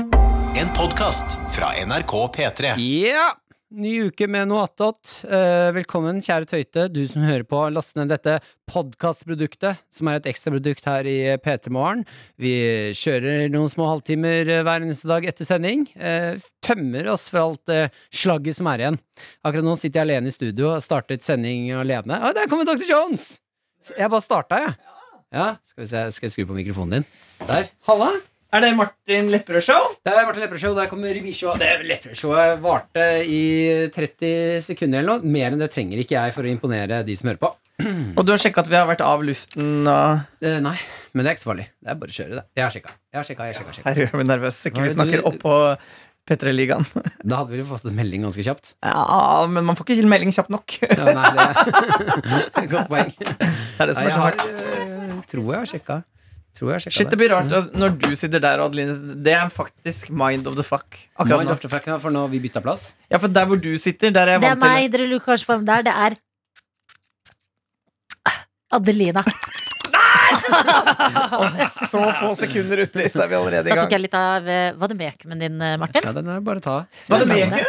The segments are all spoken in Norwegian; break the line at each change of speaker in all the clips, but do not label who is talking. En podkast fra NRK P3.
Ja! Ny uke med noe attåt. Eh, Velkommen, kjære Tøyte, du som hører på. Last ned dette podkastproduktet, som er et ekstraprodukt her i P3 Morgen. Vi kjører noen små halvtimer eh, hver eneste dag etter sending. eh, Tømmer oss for alt eh, slagget som er igjen. Akkurat nå sitter jeg alene i studio og startet sending alene. Å, der kommer Dr. Jones! Så Jeg bare starta, jeg. Ja, skal, vi se, skal jeg skru på mikrofonen din? Der. Halla!
Er det Martin Lepperød-show?
Det er Martin Lepperød-show. Der kommer revyshowet. Det Lepperød-showet varte i 30 sekunder eller noe. Mer enn det trenger ikke jeg for å imponere de som hører på.
Og du har sjekka at vi har vært av luften og
Eh, nei, men det er ikke så farlig. Det er bare å kjøre, det. Jeg har sjekka. Jeg har sjekka, jeg har sjekka, sjekka.
Her gjør vi nervøs.
Hva
Ikke vi
er det
snakker
du-
oppå P3-ligaen.
Da hadde vi jo fått en melding ganske kjapt.
Ja, men man får ikke melding kjapt nok. Det
Ja, nei, det er Godt poeng.
er det
Nei,
som er
jeg
så
har,
hardt.
eh, tror jeg har sjekka. Tror jeg har sjekka
Shit, det blir rart at når du sitter der, og Adeline Det er faktisk mind of the fuck. Akkurat
Mind
nå.
after fact, ja, for nå vi bytta plass.
Ja, for der hvor du sitter, der er jeg
Det er
vant til
meg, dere lurer kanskje på hvem det er. Det er Adelina.
Så få sekunder uti, så er vi allerede
Da
i
tok
gang.
jeg litt av eh, vademekumen din, eh, Martin.
Ja, den er bare å ta.
Hva er det
Hva er
med E
det?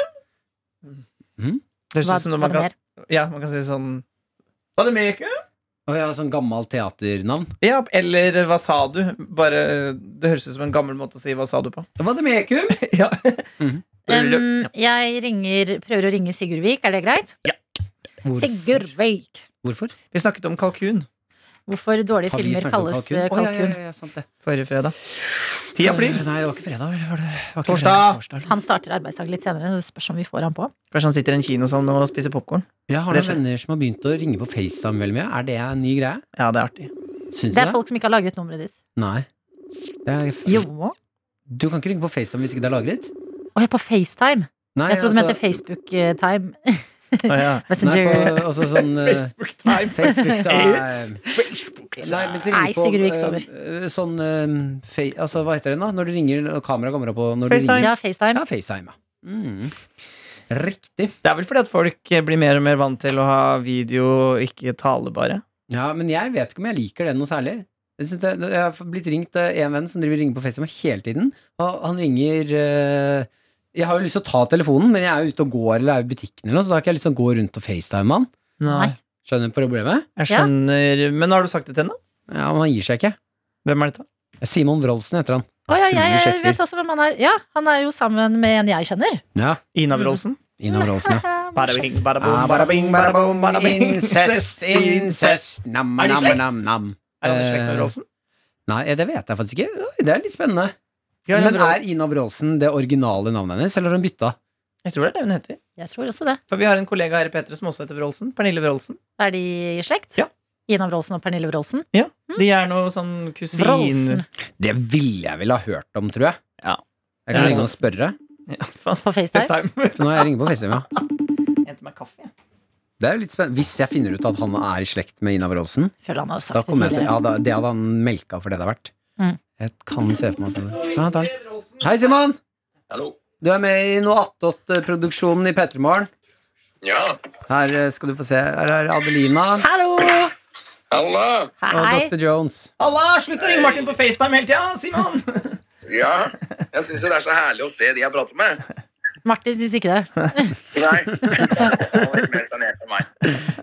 Hmm?
Det høres
Vad-
ut som når man kan
vademer.
Ja, man kan si sånn Hva er det med ikke?
Å ja, sånn gammelt teaternavn.
Ja, eller hva sa du? Bare, det høres ut som en gammel måte å si hva sa du på.
Hva er det med E Kum?
Ja.
Um, jeg ringer, prøver å ringe Sigurd Vik, er det greit? Sigurd Vik.
Hvorfor?
Vi snakket om kalkun
Hvorfor dårlige
Har vi
filmer
snakket om
kalles
kalkun?
eh,
Å, ja, ja,
kalkun.
ja, ja, sant det.
forrige fredag. Tida flyr.
Nei, det var ikke fredag. Eller var det, det var ikke
Torsdag.
fredag, torsdag.
Han starter arbeidsdagen litt senere, så det spørs om vi får han på.
Kanskje han sitter i en kinosal nå og spiser popkorn.
Jeg har noen
Presse.
venner som har begynt å ringe på FaceTime veldig mye. Er det en ny greie?
Ja, det er artig.
Syns du
Det er
det?
folk som ikke har lagret nummeret ditt.
Nei. Det er f
Jo.
Du kan ikke ringe på FaceTime hvis ikke det er lagret?
Og jeg er på FaceTime.
Nei,
Jeg trodde det
altså-
mente FaceBook-time.
Å, ja.
Nei,
Messenger.
på, altså sånn eh,
Facebook-time.
Facebook time.
Facebook
Nei, men til å
Nei,
ringe på,
Sigurd Vik
eh,
sover.
eh, Sånn eh, fa Altså, hva heter den, da? Når du ringer og kameraet kommer opp og når
FaceTime.
Du ringer.
Ja, FaceTime.
Ja, FaceTime. Ja. Mm. Riktig.
Det er vel fordi at folk blir mer og mer vant til å ha video, og ikke tale, bare.
Ja, men jeg vet ikke om jeg liker det noe særlig. Jeg, synes det, jeg har blitt ringt av en venn som driver og ringer på FaceTime hele tiden. Og han ringer eh, Jeg har jo lyst til å ta telefonen, men jeg er jo ute og går eller er i butikken, eller noe, så da har ikke jeg lyst til å gå rundt og FaceTime han.
Nei.
Skjønner du problemet?
Jeg
Ja.
skjønner Men har du sagt det til henne?
Ja, Men han gir seg ikke.
Hvem er dette?
Simon Wroldsen heter han.
Å ja, jeg
Tullersjekker.
vet også hvem han er. Ja, han er jo sammen med en jeg kjenner.
Ja,
Ina
Mm.
Wroldsen?
Ina Wroldsen, ja.
Bara bing, bara boom,
Ah,
bara bing, bara boom, bara bing.
Incest, incest, nam,
Er de
nam,
slekt?
nam, nam.
Er han i slekt med Wroldsen?
Nei, det vet jeg faktisk ikke. Oi, Det er litt spennende.
Ja,
Men
Wroldsen.
er Ina Wroldsen det originale navnet hennes, eller har hun bytta?
Jeg tror det er det hun heter.
Jeg tror også det.
For vi har en kollega her i P3 som også heter Wroldsen. Pernille Wroldsen.
Er de i slekt?
Ja.
Ina Wroldsen og Pernille Wroldsen?
De er noe sånn kusin...
Mm. Wroldsen
Det ville jeg ville ha hørt om, tror jeg.
Ja.
Jeg kan
Ja,
ringe
sånn.
og spørre.
Ja, faen.
på FaceTime?
FaceTime.
For nå har jeg ringer på FaceTime, ja.
Henter meg kaffe, jeg.
Det er jo litt spennende. Hvis jeg finner ut at han er i slekt med Ina Wroldsen,
Føler han har sagt
da
det
kommer jeg til
tidligere.
Ja, da, det hadde han melka for det det har vært.
Mm.
Jeg kan se for meg sånn. Ja, jeg tar den. Hei, Simon! Du er med i noe attåt-produksjonen i P3 Morgen.
Ja,
Her eh, skal du få se. Her er Adelina
Hallo!
halla.
og
Hei.
Dr. Jones.
Halla! Slutt å ringe Martin på FaceTime hele tida, Simon!
Ja, jeg syns det er så herlig å se de jeg prater med.
Martin syns ikke det.
Nei. Han er sånn mer sjenert enn meg.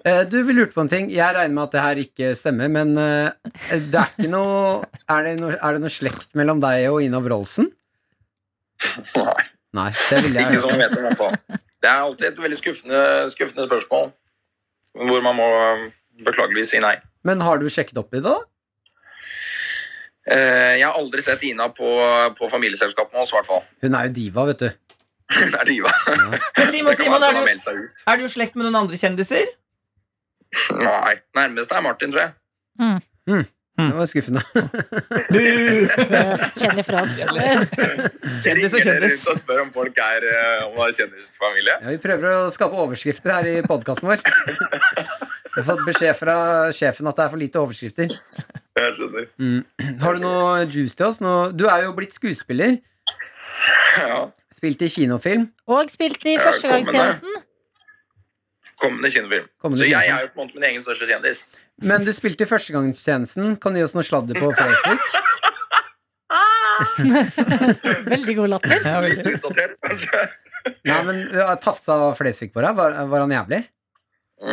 Eh, Du, vi lurte på en ting. Jeg regner med at det her ikke stemmer, men eh, det er ikke noe Er det noe, er det noe slekt mellom deg og Ina Wroldsen?
Nei,
Nei, det ville jeg
Ikke sånn. som jeg vet om i hvert fall. Det er alltid et veldig skuffende, skuffende spørsmål hvor man må um, beklageligvis si nei.
Men har du sjekket opp i det, da?
Eh, Jeg har aldri sett Ina på, på familieselskap med oss, i hvert fall.
Hun er jo diva, vet du.
Hun er diva.
Men Simon,
Det kan
Simon, er
være hun har
du,
meldt seg ut.
er du i slekt med noen andre kjendiser?
Nei. Nærmeste er Martin, tror jeg.
Det var skuffende.
Eh, Kjedelig for oss.
Kjendis og
Ringer dere
kjendis.
ut Og spør om folk er eh, om det er kjendisfamilie.
Ja, vi prøver å skape overskrifter her i podkasten vår. Jeg har fått beskjed fra sjefen at det er for lite overskrifter.
Jeg skjønner.
Mm. Har du noe juice til oss? Noe? Du er jo blitt skuespiller.
Ja.
Spilt i kinofilm.
Og spilt i Førstegangstjenesten.
Kommende kinofilm.
Kommende
så jeg
kinofilm.
er jo på en måte min egen største kjendis.
Men du spilte i Førstegangstjenesten. Kan du gi oss noe sladder på Fresvik?
Veldig god latter.
Ja, veldig.
Litt utdatert, kanskje.
Nei, men uh, Tafsa Flesvig på deg? Var, var han jævlig?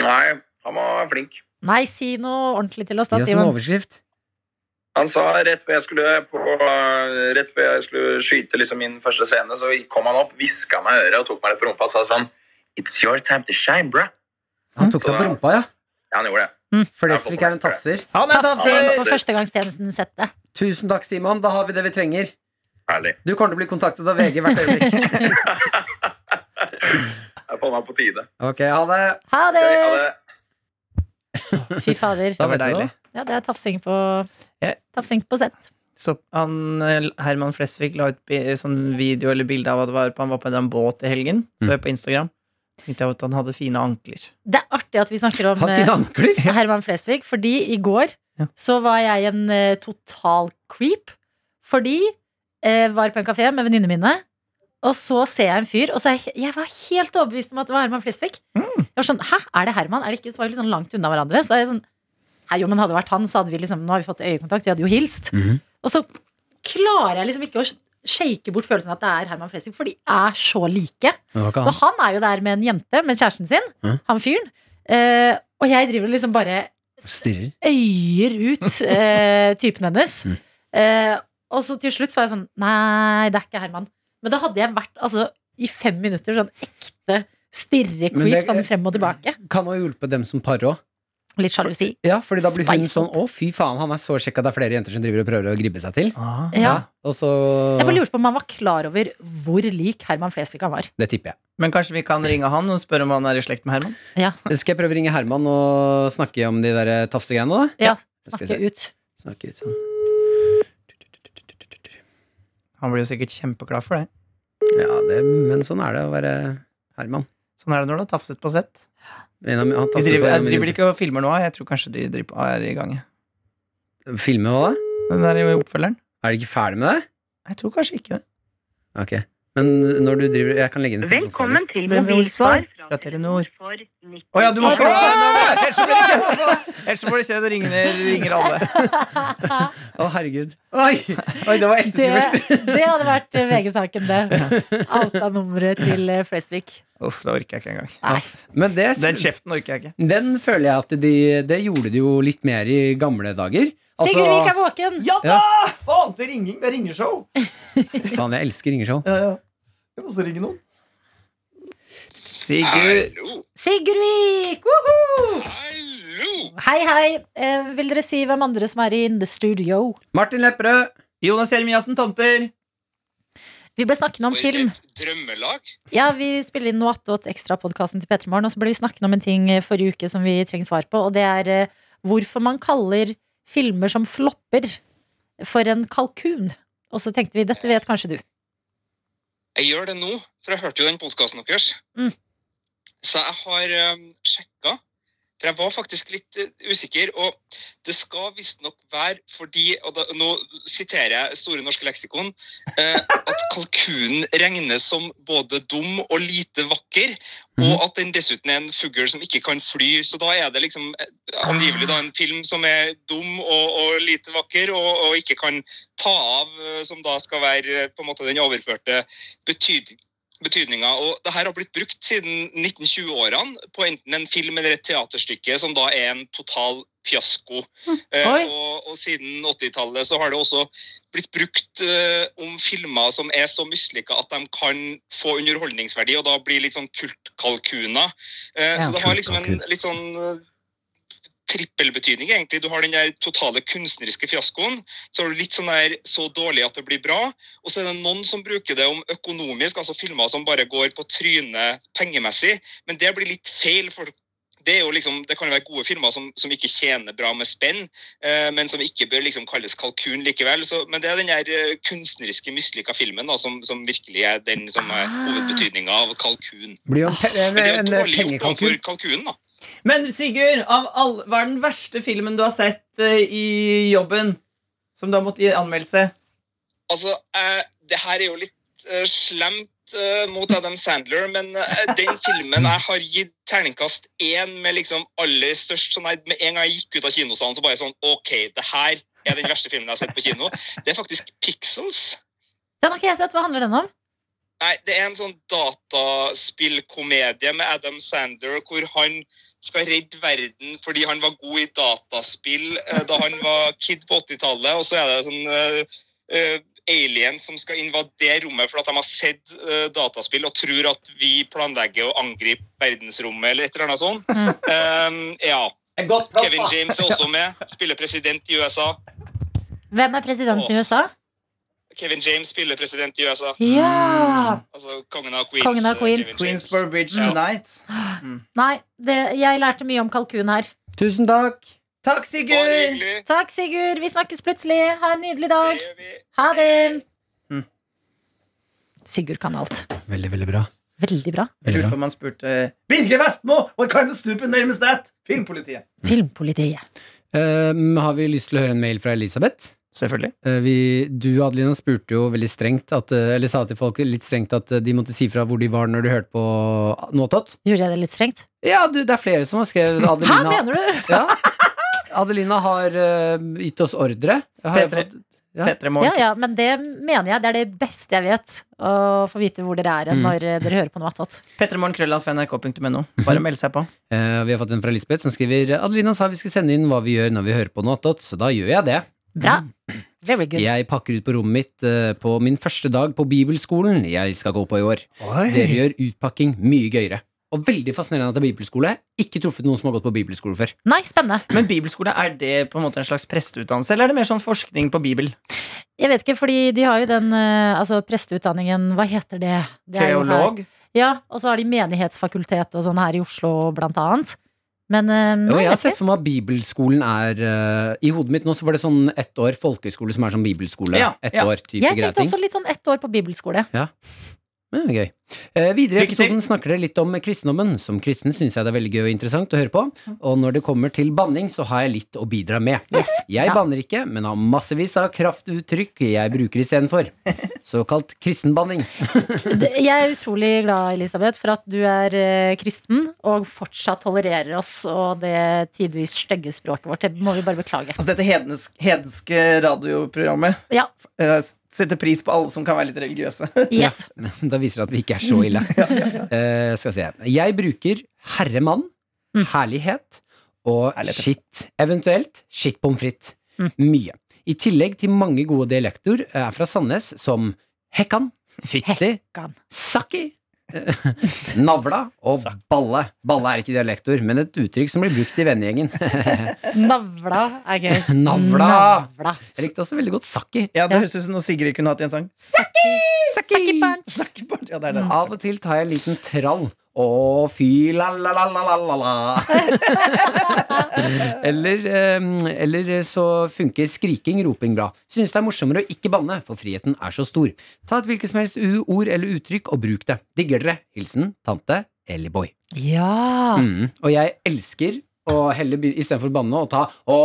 Nei, han var flink.
Nei, si noe ordentlig til oss da,
Gi oss en
Simon.
overskrift.
Han sa rett før jeg skulle, på, rett før jeg skulle skyte liksom min første scene, så kom han opp, hviska meg i øret og tok meg litt på rumpa og sa sånn It's your time to shine, bruh.
Mhm.
Han tok
Så-
deg på rumpa, ja.
Ja, han gjorde det.
Flesvig er en tafser.
Han er
Tafsing
tafsing!
på førstegangstjenesten settet.
Tusen takk, Simon. Da har vi det vi trenger.
Herlig.
Du kommer til å bli kontaktet av VG hvert øyeblikk.
Jeg får meg på tide.
Ok, ha det.
Ha det!
Jeg, hadde,
Fy fader.
Det var
Da vet du
deilig.
Ja, det er tafsing på
Ja.
Tafsing på sett.
Så han, eh, Herman Flesvig la ut bi- sånn video eller bilde av at det var på- han var på en eller annen båt i helgen.
Mm.
Så jeg på Instagram. Tenkte jeg at han hadde fine ankler.
Det er artig at vi snakker om
Ha
eh,
fine ankler.
Herman Flesvig, fordi i går
Ja.
så var jeg en eh, total creep. Fordi eh, var på en kafé med venninnene mine, og så ser jeg en fyr, og så er jeg, he- jeg var helt overbevist om at det var Herman Flesvig. Jeg var sånn, hæ, er det Herman? Er det ikke? Så var vi litt sånn langt unna hverandre. Så var jeg sånn, Nei, jo, men hadde det vært han, så hadde vi liksom, nå har vi fått øyekontakt, vi hadde jo hilst.
Mhm.
Og så klarer jeg liksom ikke å shake bort følelsen at det er Herman Flesvig, for de er så like. Så han er jo der med en jente, med kjæresten sin,
Ja.
han fyren. Eh, og jeg driver og liksom bare
Stirrer.
øyer ut eh, typen hennes.
Mm.
Eh, og så til slutt så var jeg sånn Nei, det er ikke Herman. Men da hadde jeg vært altså, i fem minutter sånn ekte
Men
stirre-creep
det-
sånn frem og tilbake.
Kan jo hjelpe dem som par òg.
Litt sjalusi.
Ja, fordi da blir hun
Spice
sånn Å, fy faen, han er så kjekk at det er flere jenter som driver og prøver å gribbe seg til.
Ja.
Og så
Jeg bare lurte på om han var klar over hvor lik Herman Flesvig han var.
Det tipper jeg.
Men kanskje vi kan ringe han og spørre om han er i slekt med Herman?
Skal jeg prøvde å ringe Herman og snakke om de der tafsegreiene, da?
Ja,
Skal vi
Snakke ut.
se. Snakke ut sånn.
Han blir jo sikkert kjempeglad for det.
Ja, det, men sånn er det å være Herman.
Sånn er det når du har tafset på sett.
En av, mi- han
De
tafser på
driver,
en av
jeg
mine-
driver ikke og filmer nå, jeg tror kanskje de driver, er i gang.
Filme hva da?
Den der i oppfølgeren?
Er du ikke ferdig med det?
Jeg tror kanskje ikke det.
Ok. Men når du driver Jeg kan legge inn
Velkommen til
Mobilsvar
mobilsvar
fra
fra
Telenor.
Telenor.
Å ja, du må
Åh!
skru på den! Ellers så blir det kjempe- Ellers så blir det kjent, det ringer, ringer alle.
Å, herregud. Oi! Oi, det var ekte
Det,
skummelt.
det hadde vært eh, VG-saken, det. Outa nummeret til eh, Flesvig.
Uff, det orker jeg ikke engang.
Nei.
Men det,
Den kjeften orker jeg ikke.
den føler jeg at de Det gjorde de jo litt mer i gamle dager. Altså-
Sigurd Vik er våken!
Ja
da!
Faen, det er ringing. Det er ringeshow.
Faen, jeg elsker ringeshow.
Ja, ja. Jeg må også ringe noen. Sigurd
hallo,
Sigurd Vik! Woohoo!
hallo!
Hei, hei. Eh, vil dere si hvem andre som er i In The Studio?
Martin Lepperød.
Jonas Jeremiassen Tomter.
Vi ble snakkende om
Oi,
film.
Et drømmelag?
Ja, Vi spiller inn noe attåt ekstrapodkasten til Petter Morgen, og så ble vi snakkende om en ting eh, forrige uke som vi trenger svar på, og det er eh, hvorfor man kaller filmer som flopper, for en kalkun. Og så tenkte vi dette vet kanskje du.
Jeg gjør det nå, for jeg hørte jo den podkasten deres.
Mm.
Så jeg har um, sjekka, for jeg var faktisk litt eh, usikker. Og det skal visstnok være fordi og da, Nå siterer jeg Store norske leksikon. eh, at kalkunen regnes som både dum og lite vakker, og at den dessuten er en fugl som ikke kan fly. Så da er det liksom eh, angivelig da en film som er dum og, og lite vakker, og, og ikke kan ta av, eh, som da skal være eh, på en måte den overførte betyd, betydninga. Og det her har blitt brukt siden 1920-årene på enten en film eller et teaterstykke som da er en total fiasko. Eh,
Oi.
og, og siden 80-tallet så har det også blitt brukt eh, om filmer som er så mislykka at de kan få underholdningsverdi, og da blir litt sånn kultkalkuner. Eh, så det har liksom en litt sånn eh, trippelbetydning, egentlig. Du har den der totale kunstneriske fiaskoen. Så har du litt sånn der så dårlig at det blir bra. Og så er det noen som bruker det om økonomisk, altså filmer som bare går på trynet pengemessig. Men det blir litt feil. for det, er jo liksom, det kan jo være gode filmer som, som ikke tjener bra med spenn, eh, men som ikke bør liksom kalles kalkun likevel. Så, men det er den der eh, kunstneriske mislykka filmen da, som, som virkelig er den som er hovedbetydninga av kalkun.
Blir jo en, pe en,
Men det er
en, eh,
jo dårlig gjort
pengekalkun.
overfor kalkunen, da.
Men Sigurd, av all, hva er den verste filmen du har sett eh, i jobben? Som du har måttet gi anmeldelse?
Altså, eh, det her er jo litt eh, slemt eh, mot Adam Sandler, men eh, den filmen jeg har gitt terningkast én med liksom aller størst sånn, nei, Med en gang jeg gikk ut av kinosalen, så bare sånn OK, det her er den verste filmen jeg har sett på kino. Det er faktisk Pixels.
Den har ikke jeg sett. Hva handler den om?
Nei, det er en sånn dataspillkomedie med Adam Sander hvor han skal redde verden fordi han var god i dataspill eh, da han var kid på 80-tallet, og så er det sånn eh, eh, alien som skal invadere rommet for at de har sett eh, dataspill og tror at vi planlegger å angripe verdensrommet eller et eller annet sånt.
Mm.
Eh, ja. Kevin James er også med. Spiller president i USA.
Hvem er presidenten i USA?
Kevin James spiller president i USA.
Ja!
Altså kongen av Queens.
Kongen av
eh,
Queens.
Kevin James.
Queensborough Bridge
Ja.
Tonight.
Nei, det, jeg lærte mye om kalkun her.
Tusen takk.
Takk,
Bare
Sigurd!
hyggelig.
Takk, Sigurd. Vi snakkes plutselig. Ha en nydelig
Det
dag.
gjør vi.
Ha det.
Mm.
Sigurd kan alt.
Veldig, veldig bra.
Veldig bra.
Jeg
Veldig
lurer på
bra.
om han spurte Birger Vestmo! What kind of stupid name is that? Filmpolitiet.
Filmpolitiet.
Ehm, har vi lyst til å høre en mail fra Elisabeth?
Selvfølgelig.
Eh, Vi, du, Adelina, spurte jo veldig strengt at, eh, Eller sa til folk litt strengt at eh, de måtte si fra hvor de var når de hørte på ah, Nåtott.
Gjorde jeg det litt strengt?
Ja, du, det er flere som har skrevet
Hæ,
Adelina.
mener du?
Ja. Adelina har eh, gitt oss ordre. Har jeg
P3.
fått- Ja.
P3 Morgen.
Ja, ja, men det mener jeg. Det er det beste jeg vet. Å få vite hvor dere er
Mm.
når eh, dere hører på noe attåt.
P3morgenkrøllalfa.nrk.no. Bare meld seg på.
Eh, vi har fått en fra Lisbeth som skriver Adelina sa vi skulle sende inn hva vi gjør når vi hører på Nåtott, så da gjør jeg det.
Bra. Very good.
Mm. Jeg pakker ut på rommet mitt eh, på min første dag på bibelskolen jeg skal gå på i år. Dere gjør utpakking mye gøyere. Og veldig fascinerende at det er bibelskole. Ikke truffet noen som har gått på bibelskole før.
Nei, spennende.
Men bibelskole, er det på en måte en slags presteutdannelse, eller er det mer sånn forskning på bibel?
Jeg vet ikke, fordi de har jo den eh, altså presteutdanningen Hva heter det? det er jo her.
Teolog?
Ja, og så har de menighetsfakultet og sånn her i Oslo, blant annet. Men eh,
Jo,
nei,
jeg har
jeg
sett
vet ikke.
for meg at bibelskolen er eh, I hodet mitt nå så var det sånn ett år folkehøyskole som er sånn bibelskole.
Ja,
ett
ja.
år type
Jeg
greier
tenkte
ting.
også litt sånn ett år på bibelskole.
Men det er gøy. Eh, videre i
Lykke til.
episoden snakker dere litt om kristendommen. Som kristen syns jeg det er veldig gøy og interessant å høre på. Og når det kommer til banning, så har jeg litt å bidra med.
Yes.
Jeg
Ja.
banner ikke, men har massevis av kraftuttrykk jeg bruker istedenfor. Såkalt kristenbanning.
Det- Jeg er utrolig glad, Elisabeth, for at du er eh, kristen og fortsatt tolererer oss og det tidvis stygge språket vårt. Det må vi bare beklage.
Altså dette hedens, hedenske radioprogrammet
Ja.
eh, setter pris på alle som kan være litt religiøse.
Yes.
Da viser det at vi ikke er så ille. Eh, skal vi se. Jeg bruker herremann,
Mm.
herlighet og
Herlighet.
shit. Eventuelt shit pommes frites.
Mm.
Mye. I tillegg til mange gode dialekter eh, er fra Sandnes som hekkan, fytti,
Hekkan.
sakki, eh, navla og balle. Balle er ikke dialektor, men et uttrykk som blir brukt i vennegjengen.
Navla er gøy.
Navla.
Navla.
Jeg likte også veldig godt sakki.
Ja, Det
Ja.
høres ut som noe Sigrid kunne hatt i en sang.
Sucky punch.
Snakkebart. Ja, det er
Mm.
det.
Av og til tar jeg en liten trall. Å, fy la-la-la-la-la-la. eller, eh, eller så funker skriking, roping bra. Synes det er morsommere å ikke banne, for friheten er så stor. Ta et hvilket som helst u- ord eller uttrykk og bruk det. Digger dere. Hilsen tante Elliboy.
Ja.
Mm. Og jeg elsker å helle istedenfor å banne og ta å,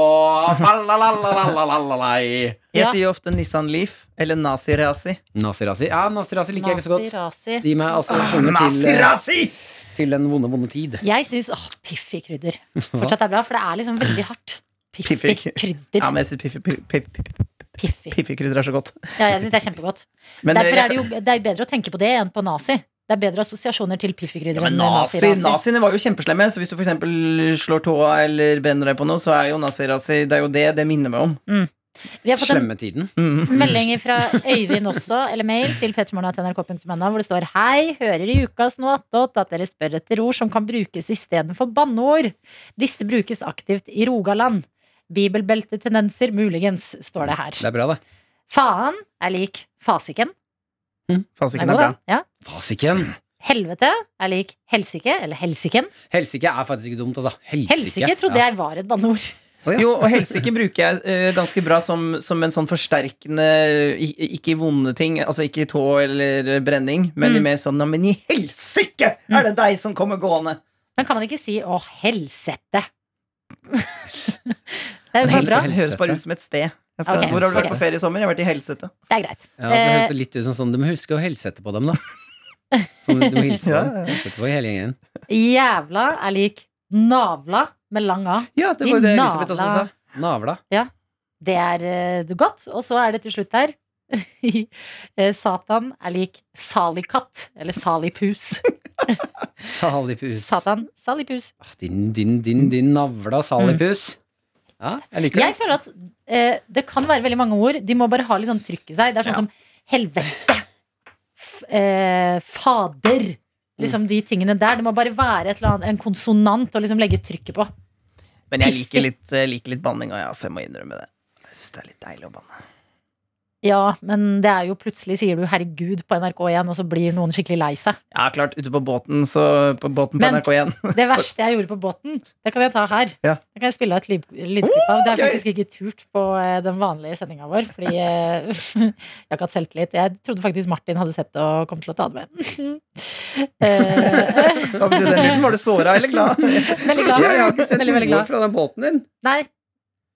fa-la-la-la-la-la-la-la-la.
Jeg
Ja.
sier jo ofte Nissan Leaf eller Nazi-Razi.
Nazi-razi. Ja, nazi-razi liker jeg ikke så godt.
Nazi-razi.
De meg assosiasjoner til, eh, til den vonde, vonde tid.
Jeg syns åh, piffig krydder fortsatt er bra, for det er liksom veldig hardt. Piffig
Piffig.
krydder.
Ja, men jeg syns piffi, piffi, piffi,
Piffig.
piffi krydder er så godt.
Ja, jeg syns det er kjempegodt.
Men, eh,
Derfor
jeg-
er det jo det er bedre å tenke på det enn på nazi. Det er bedre assosiasjoner til
Ja,
piffig-krydder
men
enn
nazi,
nazi-razi.
Naziene var jo kjempeslemme, så hvis du for eksempel slår tåa eller brenner deg på noe, så er jo nazi-razi Det er jo det det minner meg om.
Vi har fått en
Slemme tiden.
melding fra Øyvind også, eller mail, til petermorgen.nrk.no, hvor det står Hei, hører i ukas noe attåt at dere spør etter ord som kan brukes istedenfor banneord. Disse brukes aktivt i Rogaland. Bibelbeltetendenser muligens, står det her.
Det er bra, det.
Faen er lik fasiken.
Fasiken
Er
er
god,
bra.
den? Ja.
Fasiken.
Helvete er lik helsike, eller helsiken.
Helsike er faktisk ikke dumt, altså. Helsike,
Helsike trodde jeg var et banneord.
Ja.
Jo, og helsike bruker jeg eh, ganske bra som, som en sånn forsterkende i- Ikke i vonde ting, altså ikke i tå eller brenning, men i
Mm.
mer sånn ja, Men i helsike er det deg som kommer gående!
Men kan man ikke si 'å, helsette'? det er jo
Men
bare bra.
helse-
Det høres bare ut som et sted. Jeg skal,
Ok.
Hvor har du vært
Ok.
på ferie i sommer? Jeg har vært i Helsete.
Det er greit. Eh,
Ja, altså, høres det litt ut som sånn, Du må huske å hilse etter på dem, da. Sånn, du må hilse på
Ja, ja,
dem.
ja.
Hilse etter på hele gjengen.
Jævla er lik navla med lang a.
Ja, det
De
var jo det Elisabeth
navla.
også sa. Navla.
Ja. Det er eh, godt. Og så er det til slutt her Eh, Satan er lik salikatt, eller salipus.
Salipus.
Satan, salipus.
Ah, Din, din, din, din navla salipus. Ja, jeg liker
Mm. Jeg
det.
føler at eh, det kan være veldig mange ord. De må bare ha litt sånn trykk i seg. Det er sånn som helvete, f eh, fader. Liksom de tingene der. Det må bare være et eller annet, en konsonant å liksom legge trykket på.
Men jeg liker litt, eh, liker litt banning, og ja, så jeg må innrømme det. Jeg syns det er litt deilig å banne.
Ja, men det er jo plutselig sier du 'herregud' på NRK1, og så blir noen skikkelig lei seg.
Ja, klart, ute på båten, så på båten på
Men-
NRK1.
Det verste jeg gjorde på båten, det kan jeg ta her.
Ja.
Det kan jeg spille av et lyd- lydklipp av. Det er
gøy!
faktisk ikke turt på eh, den vanlige sendinga vår, fordi eh, jeg har ikke hatt selvtillit. Jeg trodde faktisk Martin hadde sett det og kom til å ta det med. Eh,
Hva betydde den lyden? Var du såra eller glad?
veldig glad.
Ja, jeg har ikke sett
veldig, veldig
noe
glad.
fra den båten din.
Nei,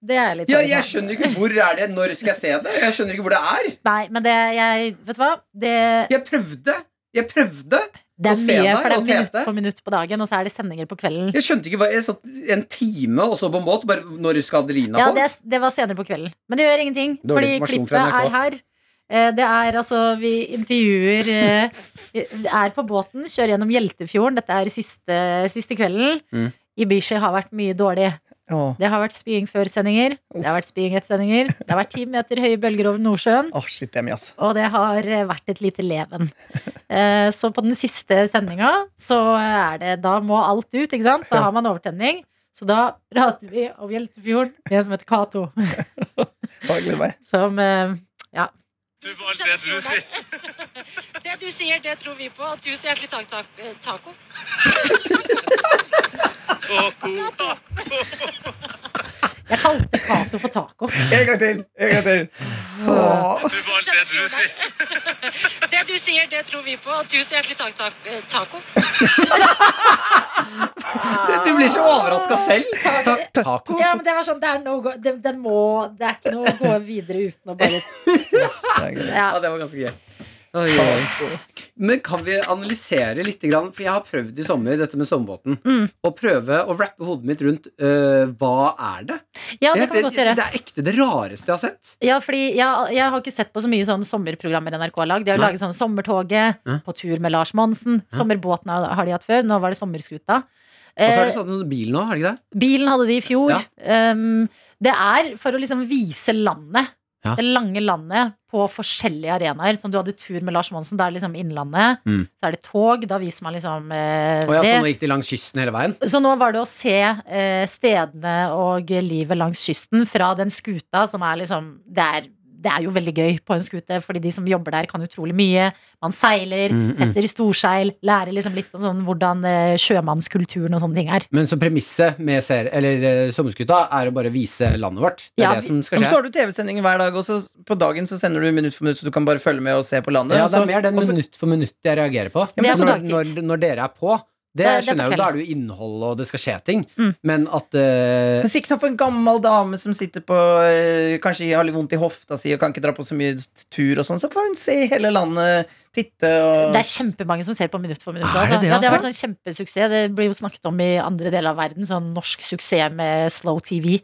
det er jeg litt
Ja,
sorry for.
jeg skjønner ikke hvor er det Når skal jeg se det? Jeg skjønner ikke hvor det er.
Nei, men det jeg Vet du hva? Det,
Jeg prøvde. Jeg prøvde.
det
og
er mye,
scener og
for det er minutt
tete.
for minutt på dagen, og så er det sendinger på kvelden.
Jeg skjønte ikke hva Jeg satt en time og så på en båt. Bare når skal Adelina
Ja,
på?
det, det var senere på kvelden. Men det gjør ingenting,
Dårlig
fordi
informasjon
klippet
fra NRK.
er her. Eh, Det er altså Vi intervjuer eh, Er på båten, kjører gjennom Hjeltefjorden. Dette er siste, siste kvelden.
Mm.
Ibishi har vært mye dårlig.
Åh,
Det har vært spying før sendinger. Det har vært spying etter sendinger. Det har vært ti meter høye bølger over Nordsjøen.
åh, shit, det er mye, ass.
Og det har eh, vært et lite leven. Eh, Så på den siste sendinga, så eh, er det Da må alt ut, ikke sant? Da har man overtenning. Så da prater vi om Hjeltefjorden, det som heter Cato.
Åh, jeg gleder meg.
Som eh, ja.
det du sier.
Det du sier, det tror vi på. Og tusen hjertelig takk, tak, eh, taco.
Jeg kalte Cato for taco.
En gang til! En gang til. Åh.
det du sier.
Det du sier, det tror vi på. Og tusen hjertelig takk, tak, eh, taco.
Du blir så overraska selv. Ta taco?
Ja, men det var sånn, det er no go det, den må Det er ikke noe å gå videre uten å bare
Det er gøy.
ja.
Ja, det var ganske gøy. Oi, oi. Men kan vi analysere litt? Grann? For jeg har prøvd i sommer dette med sommerbåten.
Mm.
Å prøve å wrappe hodet mitt rundt øh, hva er det?
ja, det kan vi godt gjøre.
det er ekte det rareste jeg har sett.
Ja, fordi jeg, jeg har ikke sett på så mye sånne sommerprogrammer NRK har lagd. De har
Nei.
laget sånn Sommertoget,
Ja.
På tur med Lars Monsen, Sommerbåten har har de hatt før. Nå var det Sommerskuta.
Og
Eh,
så er det sånn bil nå, er det ikke det?
Bilen hadde de i fjor.
Ja.
Um, det er for å liksom vise landet.
Ja.
Det lange landet på forskjellige arenaer. Som du hadde tur med Lars Monsen, da er det liksom Innlandet.
Mm.
Så er det tog, da viser man liksom eh,
Å ja, så nå
det.
gikk de langs kysten hele veien?
Så nå var det å se eh, stedene og livet langs kysten fra den skuta som er liksom det er, det er jo veldig gøy på en skute, fordi de som jobber der, kan utrolig mye. Man seiler,
Mm, mm.
setter i storseil, lærer liksom litt om sånn hvordan eh, sjømannskulturen og sånne ting er.
Men så premisset med ser eller eh, Sommerskuta er å bare vise landet vårt. Det er
Ja,
det som
Ja,
skal
men så
skje.
har du TV-sendinger hver dag, og så på dagen så sender du minutt for minutt, så du kan bare følge med og se på landet.
Ja,
og
det
så-
er Altså- mer den
og så-
minutt for minutt jeg reagerer på.
Det er
Så når,
på dagtid.
når, når dere er på, det,
Det- det er på
skjønner jeg jo, da
kvelden.
er det jo innhold og det skal skje ting.
Mm.
Men at eh,
Men sikkert for en gammel dame som sitter på eh, Kanskje har litt vondt i hofta si og kan ikke dra på så mye tur og sånn, så får hun se hele landet, titte og
Det er kjempemange som ser på minutt for minutt.
Er det
Altså.
det,
Ja, det har vært
altså?
sånn kjempesuksess. Det blir jo snakket om i andre deler av verden. Sånn norsk suksess med slow TV.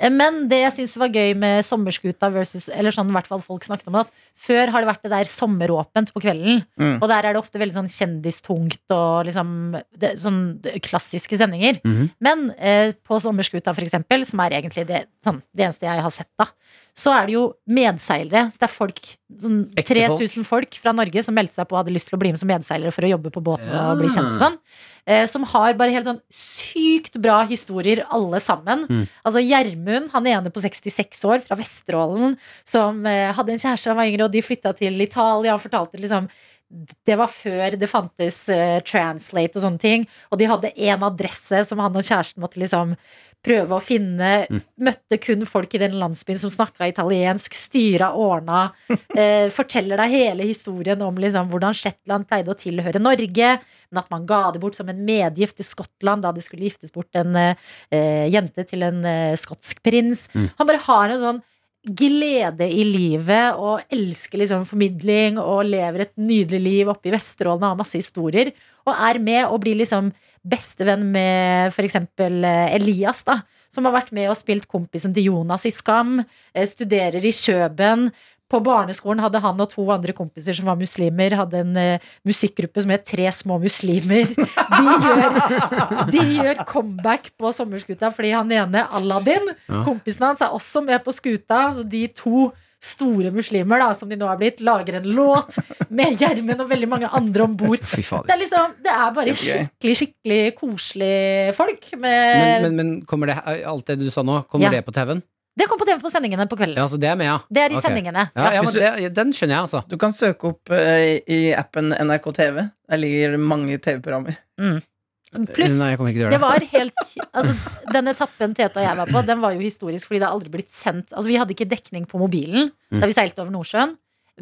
Eh, Men det jeg syns var gøy med Sommerskuta versus Eller sånn i hvert fall folk snakket om det, at før har det vært det der sommeråpent på kvelden.
Mm.
Og der er det ofte veldig sånn kjendistungt og liksom det, sånn klassiske sendinger.
Mhm.
Men eh, på Sommerskuta, for eksempel, som er egentlig det, sånn, det eneste jeg har sett, da, så er det jo medseilere. Så det er folk, sånn
Ekte
3000 folk fra Norge som meldte seg på og hadde lyst til å bli med som medseilere for å jobbe på båten
Ja.
og bli kjent og sånn. Eh, som har bare helt sånn sykt bra historier, alle sammen.
Mm.
Altså Gjermund, han ene på 66 år fra Vesterålen, som eh, hadde en kjæreste da han var yngre, og de flytta til Italia. Han fortalte liksom det var før det fantes eh, translate og sånne ting. Og de hadde én adresse som han og kjæresten måtte liksom prøve å finne. Møtte kun folk i den landsbyen som snakka italiensk, styra ordna. Eh, forteller deg hele historien om liksom, hvordan Shetland pleide å tilhøre Norge. Men at man ga det bort som en medgift til Skottland da det skulle giftes bort en eh, eh, jente til en eh, skotsk prins.
Mm.
Han bare har en sånn glede i livet og elsker liksom formidling og lever et nydelig liv oppe i Vesterålen og har masse historier. Og er med og blir liksom bestevenn med f.eks. Elias, da, som har vært med og spilt kompisen til Jonas i Skam, eh, studerer i Kjøben. På barneskolen hadde han og to andre kompiser som var muslimer, hadde en eh, musikkgruppe som het Tre små muslimer. De gjør, de gjør comeback på sommerskuta fordi han ene, Aladdin,
Ja.
kompisen hans, er også med på skuta. Så de to store muslimer, da, som de nå har blitt, lager en låt med Gjermund og veldig mange andre om bord.
Fy
Det
fader.
er liksom, det er bare
Kjempegøy.
skikkelig, skikkelig koselig folk. Med,
Men, men, men kommer det, alt det du sa nå, kommer
eh, Ja.
det på TV-en?
det kommer på TV på sendingene på kvelden.
Ja, så det er med, ja.
Det er i
Ok.
sendingene.
ja, ja men
Hvis du-
det, den skjønner jeg, altså.
Du kan søke opp eh, i appen NRK TV. Der ligger mange TV-programmer.
Pluss,
Nei, jeg kommer ikke til å gjøre
det
det.
var helt altså, Den etappen Tete og jeg var på, den var jo historisk fordi det har aldri blitt sendt. Altså, vi hadde ikke dekning på mobilen
Mm.
da vi seilte over Nordsjøen.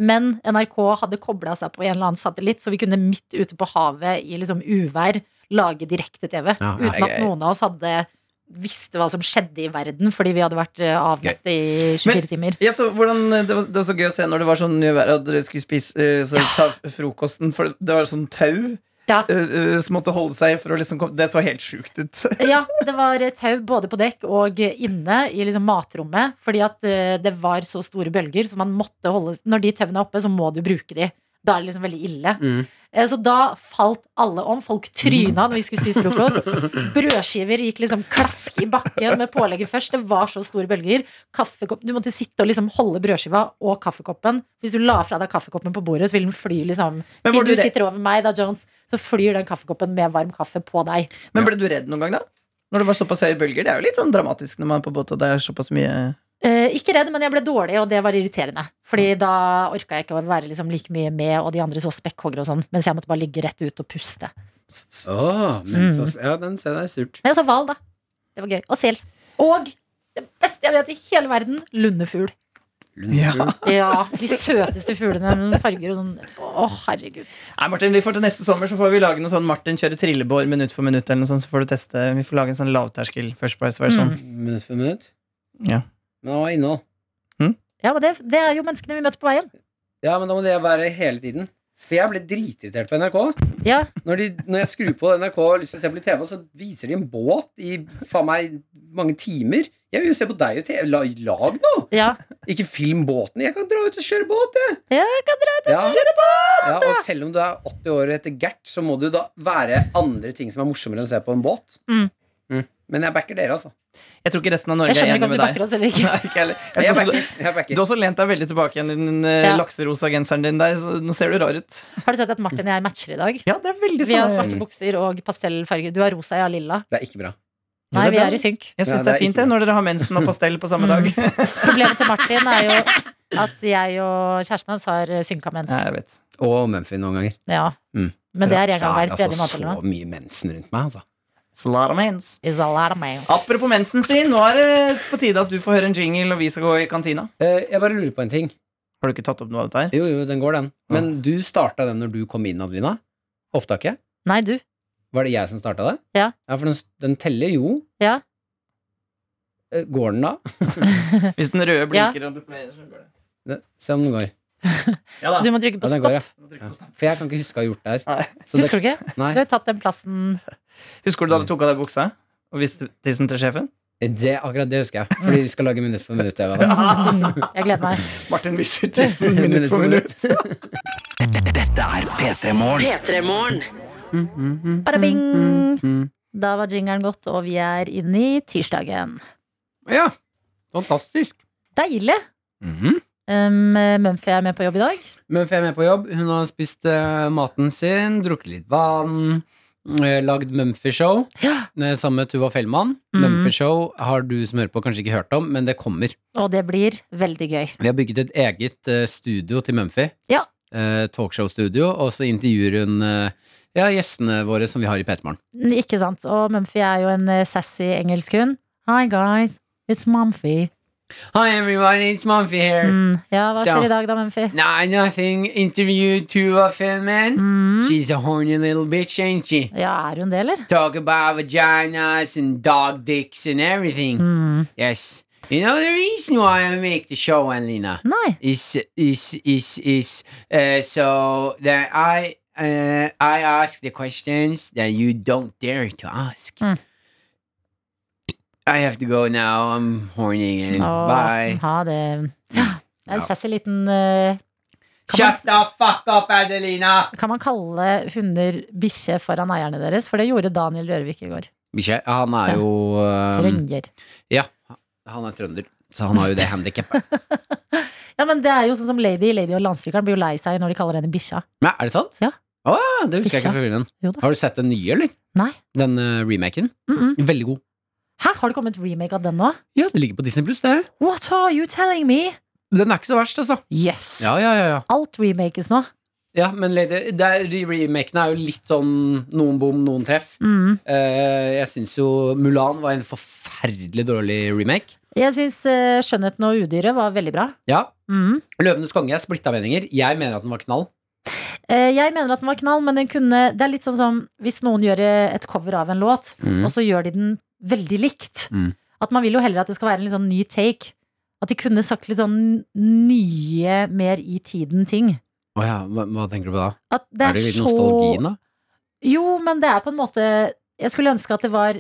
Men NRK hadde kobla seg på en eller annen satellitt, så vi kunne midt ute på havet i liksom uvær lage direkte-TV.
Ja, ja.
Uten at
Gøy.
noen av oss hadde visste hva som skjedde i verden, fordi vi hadde vært eh, avnett i 24
Men-
timer.
Ja, så hvordan, eh, det, var, det var så gøy å se når det var sånn mye vær at dere skulle spise eh, så ta f- frokosten. For det var sånn tau
Ja.
eh, eh, som måtte holde seg for å liksom komme Det så helt sjukt ut.
Ja, det var eh, tau både på dekk og eh, inne i liksom matrommet. Fordi at eh, det var så store bølger, så man måtte holde Når de tauene er oppe, så må du bruke de. Da er det liksom veldig ille.
Mm.
Eh, Så da falt alle om. Folk tryna når vi skulle spise frokost. Brødskiver gikk liksom klask i bakken med pålegget først. Det var så store bølger. Kaffekopp, du måtte sitte og liksom holde brødskiva og kaffekoppen. Hvis du la fra deg kaffekoppen på bordet, så vil den fly liksom
Men var
Siden
du
du
redd-
sitter over meg, da, Jones, så flyr den kaffekoppen med varm kaffe på deg.
Men ble du redd noen gang, da? Når det var såpass høye bølger? Det er jo litt sånn dramatisk når man er på båt og det er såpass mye
Eh, ikke redd, men jeg ble dårlig, og det var irriterende. Fordi
Mm.
da orka jeg ikke å være liksom like mye med, og de andre så spekkhoggere og sånn. Mens jeg måtte bare ligge rett ut og puste.
Åh, men så, ja, den ser det er surt.
Men jeg så hval, da. Det var gøy. Og sel. Og det beste jeg vet i hele verden, lundefugl.
Ja.
Ja, de søteste fuglene med noen farger og sånn. Å, herregud.
Nei, Martin, vi får til neste sommer så får vi lage noe sånn Martin kjører trillebår minutt for minutt. eller noe sånt, Så får du teste Vi får lage en sånn lavterskel First
Mm.
Price-versjon.
Minutt for minutt.
Ja.
Men hva var innhold?
Ja, men det, det er jo menneskene vi møter på veien.
Ja, men da må det være hele tiden. For jeg ble dritirritert på NRK.
Ja,
Når, de, når jeg skrur på NRK og har lyst til å se på litt TV, så viser de en båt i faen meg mange timer. Jeg vil jo se på deg og TV. La, lag noe!
ja.
Ikke film båten. Jeg kan dra ut og kjøre båt, jeg.
Ja, jeg
kan dra ut og kjøre båt! Ja, og selv om du er 80 år etter Gert, så må det jo da være andre ting som er morsommere enn å se på en båt.
Mm.
Mm. Men jeg backer dere, altså.
Jeg tror ikke resten av Norge
Jeg
er
skjønner
enig
ikke om
med
de
deg.
bakker oss eller ikke.
Nei, ikke heller. Jeg
Jeg
synes du-
backer. Jeg
Du
backer.
har også lent deg veldig tilbake igjen i den eh,
Ja.
lakserosa genseren din der. Så nå ser du rar ut.
Har du sett at Martin og jeg matcher i dag?
Ja, det er veldig
Vi har
sånn.
svarte bukser og pastellfarger. Du har rosa, jeg har lilla.
Det er ikke bra.
Nei,
Ja, det er
vi
bra.
er i synk.
Jeg
Ja,
syns det
det
er
er
fint
ikke
det, når dere har mensen og pastell på samme dag. Ja,
Problemet til Martin er jo at jeg og kjæresten hans har synka mens.
jeg vet.
Og Mumphy noen ganger.
Ja.
Mm.
Men det er en gang
Ja,
hver
altså,
tredje måned eller
så
noe.
mye mensen rundt meg, altså.
It's a lot of mens.
Is all out of my-
Apropos mensen sin, nå er det på tide at du får høre en jingle, og vi skal gå i kantina.
Eh, Jeg bare lurer på en ting.
Har du ikke tatt opp noe av dette her?
Jo, jo, den går, den. Men du starta den når du kom inn, Adelina. Opptaket.
Nei, du.
Var det jeg som starta det?
Ja.
For den, den teller jo.
Ja.
Eh, Går den da?
Hvis den røde
Ja.
blinker og du pleier, så går det.
Det- Se om den går.
Ja
Så
da.
du må trykke på
Ja, den går,
stopp.
ja. ja. For jeg kan ikke huske å ha gjort det
Nei.
her. Så det-
Husker du ikke? Du
Nei,
har tatt den plassen
Husker du da du tok av deg buksa og viste tissen til sjefen?
det, akkurat det husker jeg. Fordi vi skal lage minutt for minutt. Jeg, vet.
Jeg gleder meg.
Martin viser tissen minutt for minutt.
P3morgen.
Bare bing!
Mm.
Da var jingeren gått, og vi er inne i tirsdagen.
ja. Fantastisk.
Deilig!
Mhm.
Um, Mumphy er med på jobb i dag.
Men for jeg er med på jobb. Hun har spist eh, maten sin, drukket litt vann. eh, Lagd Mumphy-show
Ja.
eh, sammen med Tuva Fellmann.
Mm.
Mumphy-show har du som hører på kanskje ikke hørt om, men det kommer.
Og det blir veldig gøy.
Vi har bygget et eget eh, studio til Mumphy.
Ja.
Eh, Talkshow-studio. Og så intervjuer hun eh, ja, gjestene våre som vi har i Petermorgen.
Ikke sant? Og Mumphy er jo en eh, sassy engelskhund. Hi, guys. It's Mumphy.
Hi everyone, it's Mumphy here.
Mm. Ja, hva
Så.
skjer i dag da, Mumphy?
Nah, nothing. Interviewed Tuva Finman.
Mm.
She's a horny little bitch, ain't she?
Ja, er hun det, eller?
Talk about vaginas and dog dicks and everything.
Mm.
Yes. You know the reason why I make the show, Anlina,
Nei.
is is is is uh, so that I uh, I
Hmm.
ask the questions that you don't dare to ask.
Mm.
I have to go now. I'm horny again.
Å,
Mm. Bye.
Ha det. Ja, det er en
Ja.
sassy liten eh, kan,
Shut the fuck up, Adelina!
man, kan man kalle hunder bikkje foran eierne deres? For det gjorde Daniel Rørvik i går.
Bikkje, han er jo um,
Trønder.
Ja, han er trønder, så han har jo det handikappet.
Ja, men det er jo sånn som Lady Lady og Landstrykeren blir jo lei seg når de kaller henne bikkja.
Men er det sant?
Ja.
Å, det husker jeg
Bikkja.
ikke fra filmen.
Jo da.
Har du sett den nye, eller?
Nei.
Den eh, remaken?
Mm -mm.
Veldig god.
Hæ, har det kommet remake av den nå?
Ja, det ligger på Disney Pluss, det.
What are you telling me?
Den er ikke så verst, altså.
Yes!
Ja, ja, ja. ja.
Alt remakes nå.
ja men Lady, det er, de remakene er jo litt sånn noen bom, noen treff.
Mm.
Eh, jeg syns jo Mulan var en forferdelig dårlig remake.
Jeg syns eh, 'Skjønnheten og udyret' var veldig bra.
Ja.
Mm.
Løvenes konge, jeg splitta meninger. Jeg mener at den var knall.
Eh, Jeg mener at den var knall, men den kunne Det er litt sånn som hvis noen gjør eh, et cover av en låt,
Mm.
og så gjør de den veldig likt.
Mm.
At man vil jo heller at det skal være en litt sånn ny take. At de kunne sagt litt sånn nye, mer i tiden ting.
Å ja, hva, hva tenker du på da?
At det er,
er det litt
så
nostalgien, da?
Jo, men det er på en måte Jeg skulle ønske at det var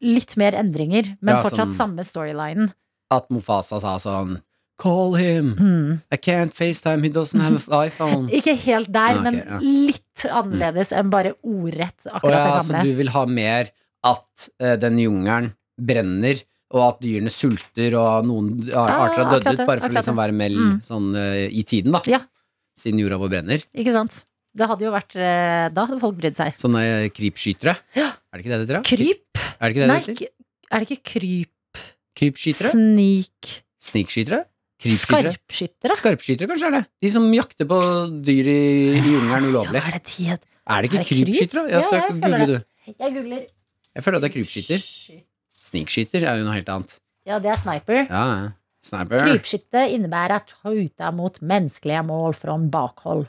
litt mer endringer, men
Ja,
fortsatt
sånn-
samme storylinen.
At Mofasa sa sånn Call him!
Mm.
I can't FaceTime, he doesn't have an iPhone.
Ikke helt der,
Ah, ok,
men
ja.
litt annerledes enn bare ordrett
Å
akkurat
ja, altså
det
så
gamle.
du vil ha mer at eh, den jungelen brenner, og at dyrene sulter, og noen ar-
Ah,
arter har
akkurat
dødd
det,
ut, bare for å
akkurat
liksom være med
Mm.
sånn eh, i tiden, da.
Ja.
Siden jorda vår brenner.
Ikke sant? Det hadde jo vært eh, Da hadde folk brydd seg.
Sånne eh, krypskytere. Er det ikke det det heter? da?
Kryp?
Er det ikke det
Nei,
det heter?
k- er det ikke kryp?
Krypskytere?
Snik?
Snikskytere? Krypskytere?
Skarpskyttere?
Skarpskytere, kanskje er det? De som jakter på dyr i, i jungelen
Ja, hva
ulovlig.
er det de het?
Er det
er
ikke
det kryp?
krypskytere?
Ja,
Ja, søk
jeg føler
google du.
det. Jeg googler.
Jeg føler at det er krypskyter.
Skyt-
Snikskyter er jo noe helt annet.
Ja, det er sniper.
Ja, ja. Sniper.
Krypskytte innebærer at skjuta mot menneskelige mål fra bakhold.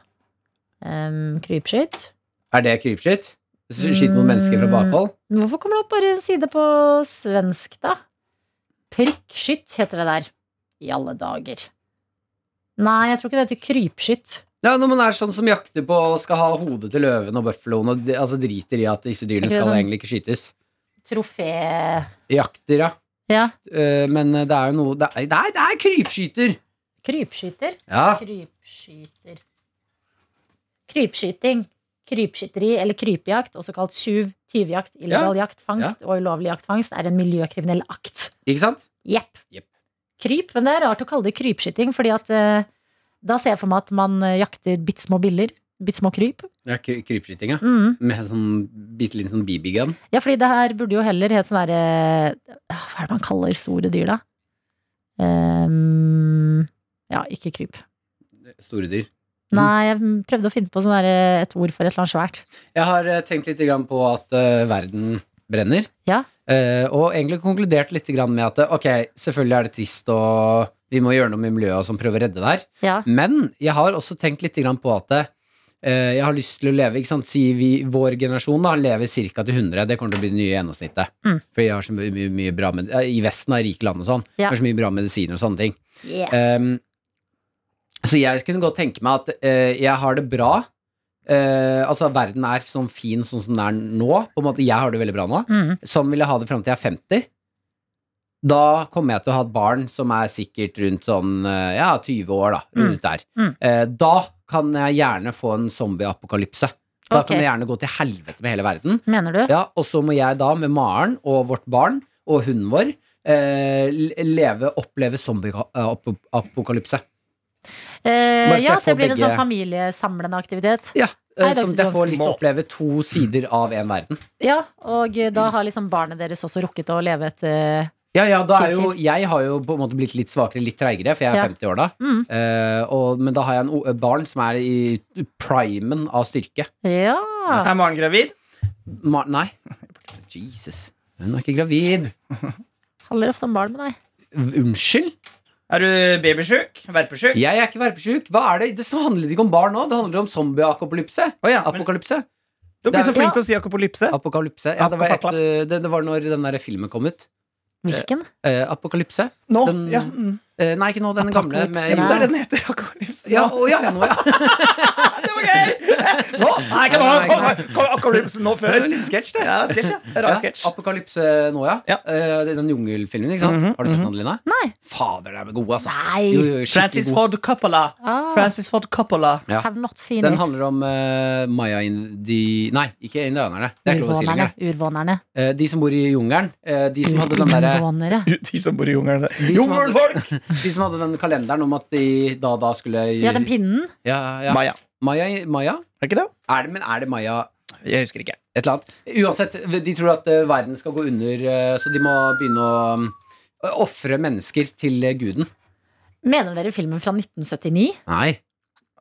Um, krypskytt.
Er det krypskytt? Skyte mot mennesker fra bakhold?
Hvorfor kommer det opp bare en side på svensk, da? Prikkskytt heter det der. I alle dager. Nei, jeg tror ikke det heter krypskytt.
Ja, når man er sånn som jakter på og skal ha hodet til løven og bøffeloen og de, altså driter i at disse dyrene
Ikke det
skal
sånn?
egentlig ikke skytes.
Trofé...
Jakter, ja.
Ja.
Eh, men det er jo noe Det er, det er, det er krypskyter!
Krypskyter.
Ja.
Krypskyter. Krypskyting. Krypskytteri eller krypjakt, også kalt tjuv, tyvjakt, illegal jaktfangst og ulovlig jaktfangst, er en miljøkriminell akt.
Ikke sant?
Jepp.
Jepp.
Kryp, men det er rart å kalle det krypskyting, fordi at eh, da ser jeg for meg at man eh, jakter bitte små biller. Bitte små kryp.
Ja, kry krypskyting, ja.
Mm.
Med sånn bitte liten sånn BB-gun.
Ja, fordi det her burde jo heller hete sånn derre Hva er det man kaller store dyr, da? Ehm, ja, ikke kryp.
Store dyr.
Nei, jeg prøvde å finne på sånn der, et ord for et eller annet svært.
Jeg har eh, tenkt litt grann på at eh, verden brenner.
Ja.
Eh, og egentlig konkludert litt grann med at eh, ok, selvfølgelig er det trist og vi må gjøre noe med miljøet som prøver å redde det her.
Ja.
Men jeg har også tenkt litt grann på at eh, jeg har lyst til å leve ikke sant? Si vi, Vår generasjon da, lever ca. til 100. Det kommer til å bli det nye gjennomsnittet.
Mm.
For vi har så mye, mye, mye bra med, eh, I Vesten har rike land og sånn. Det
Ja.
er så mye bra medisiner og sånne ting.
Yeah.
Ehm, så jeg kunne godt tenke meg at eh, jeg har det bra. Eh, altså Verden er sånn fin sånn som den er nå. På en måte, Jeg har det veldig bra nå.
Mm.
Sånn vil jeg ha det fram til jeg er 50. Da kommer jeg til å ha et barn som er sikkert rundt sånn eh, ja, 20 år, da. Rundt der.
Mm.
Eh, da kan jeg gjerne få en zombieapokalypse. Da
Ok.
kan det gjerne gå til helvete med hele verden.
Mener du?
Ja, og så må jeg da med Maren og vårt barn og hunden vår eh, leve, oppleve eh, zombieapokalypse.
Eh,
Bare så
ja,
jeg
det
får
blir en
begge-
sånn familiesamlende aktivitet.
Ja,
Nei,
eh,
det er
Sånn
ikke
at jeg
så
får litt oppleve to sider av en verden.
Ja, Og da har liksom barnet deres også rukket å leve et eh,
Ja, ja, da er jo,
Sinnssykt.
jeg har jo på en måte blitt litt svakere, litt treigere, for jeg er
Ja.
50 år da.
mm.
Eh, og, men da har jeg en o- barn som er i primen av styrke.
Ja.
Er Maren gravid?
Ma nei. Jesus. Hun er ikke gravid.
Handler ofte om barn med deg.
Unnskyld?
Er du babysjuk? Verpesjuk?
Jeg er ikke verpesjuk. Hva er det? Det handler ikke om barn nå. Det handler om zombieapokalypse.
Å ja, men
Apokalypse.
du blir så
Ja.
flink til å si akopolypse.
Apokalypse. Ja, det, var et,
Apokalypse.
eh, det, det var når den der filmen kom ut.
Hvilken?
Eh, apokalypse.
Nå!
Den-
ja, mm.
Eh, nei, ikke nå. Den gamle
Apokalypse,
med
Jo, det
nei.
ja.
er den heter. Akopolypse.
Ja, å, ja, ja, nå, ja.
det var Nå? Nei, ikke nå! Kom, kom, apokalypsen nå
Det
før.
er litt sketsj, det.
Ja, sketsj, ja. Rar sketsj.
Apokalypse nå, ja.
Ja.
Eh, den jungelfilmen, ikke sant?
Mhm,
Har du sett den, Adelina?
Nei.
Fader, den er god, altså.
Nei.
Jo, jo, skikkelig
Francis
god.
Ford Coppola.
Ah.
Francis Ford Coppola.
Ja.
Have not seen
Den
it.
handler om eh, maya-indi... Nei, ikke indianerne. Det er ikke lov å si
Urvånerne.
lenger.
Urvånerne.
Eh, de som bor i jungelen. eh, de som hadde den derre
Urvånere.
De som bor i jungelen.
De som hadde-
Jungelfolk!
De som hadde den kalenderen om at de da da skulle
Ja, den pinnen.
ja, ja.
Maya.
Maya, maya?
Er det ikke det?
Er det, men er det maya
Jeg husker ikke.
et eller annet? Uansett, de tror at eh, verden skal gå under, eh, så de må begynne å um, ofre mennesker til eh, guden.
Mener dere filmen fra 1979?
Nei.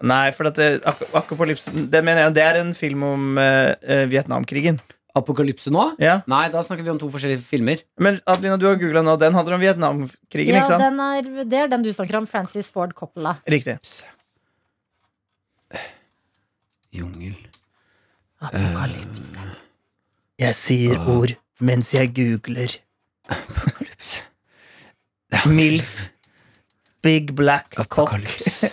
Nei, for at det, ak Apokalypsen det, mener jeg, det er en film om eh, eh, Vietnamkrigen.
Apokalypse nå?
Ja.
Nei, da snakker vi om to forskjellige filmer.
Men Adelina, du har googla nå. Den handler om Vietnamkrigen,
Ja,
ikke sant?
den er, det er den du snakker om. Francis Ford Coppola.
Riktig.
Jungel
Apokalypse.
Eh,
Jeg sier ord mens jeg googler. Milf. Big black cock.
Apokalypse.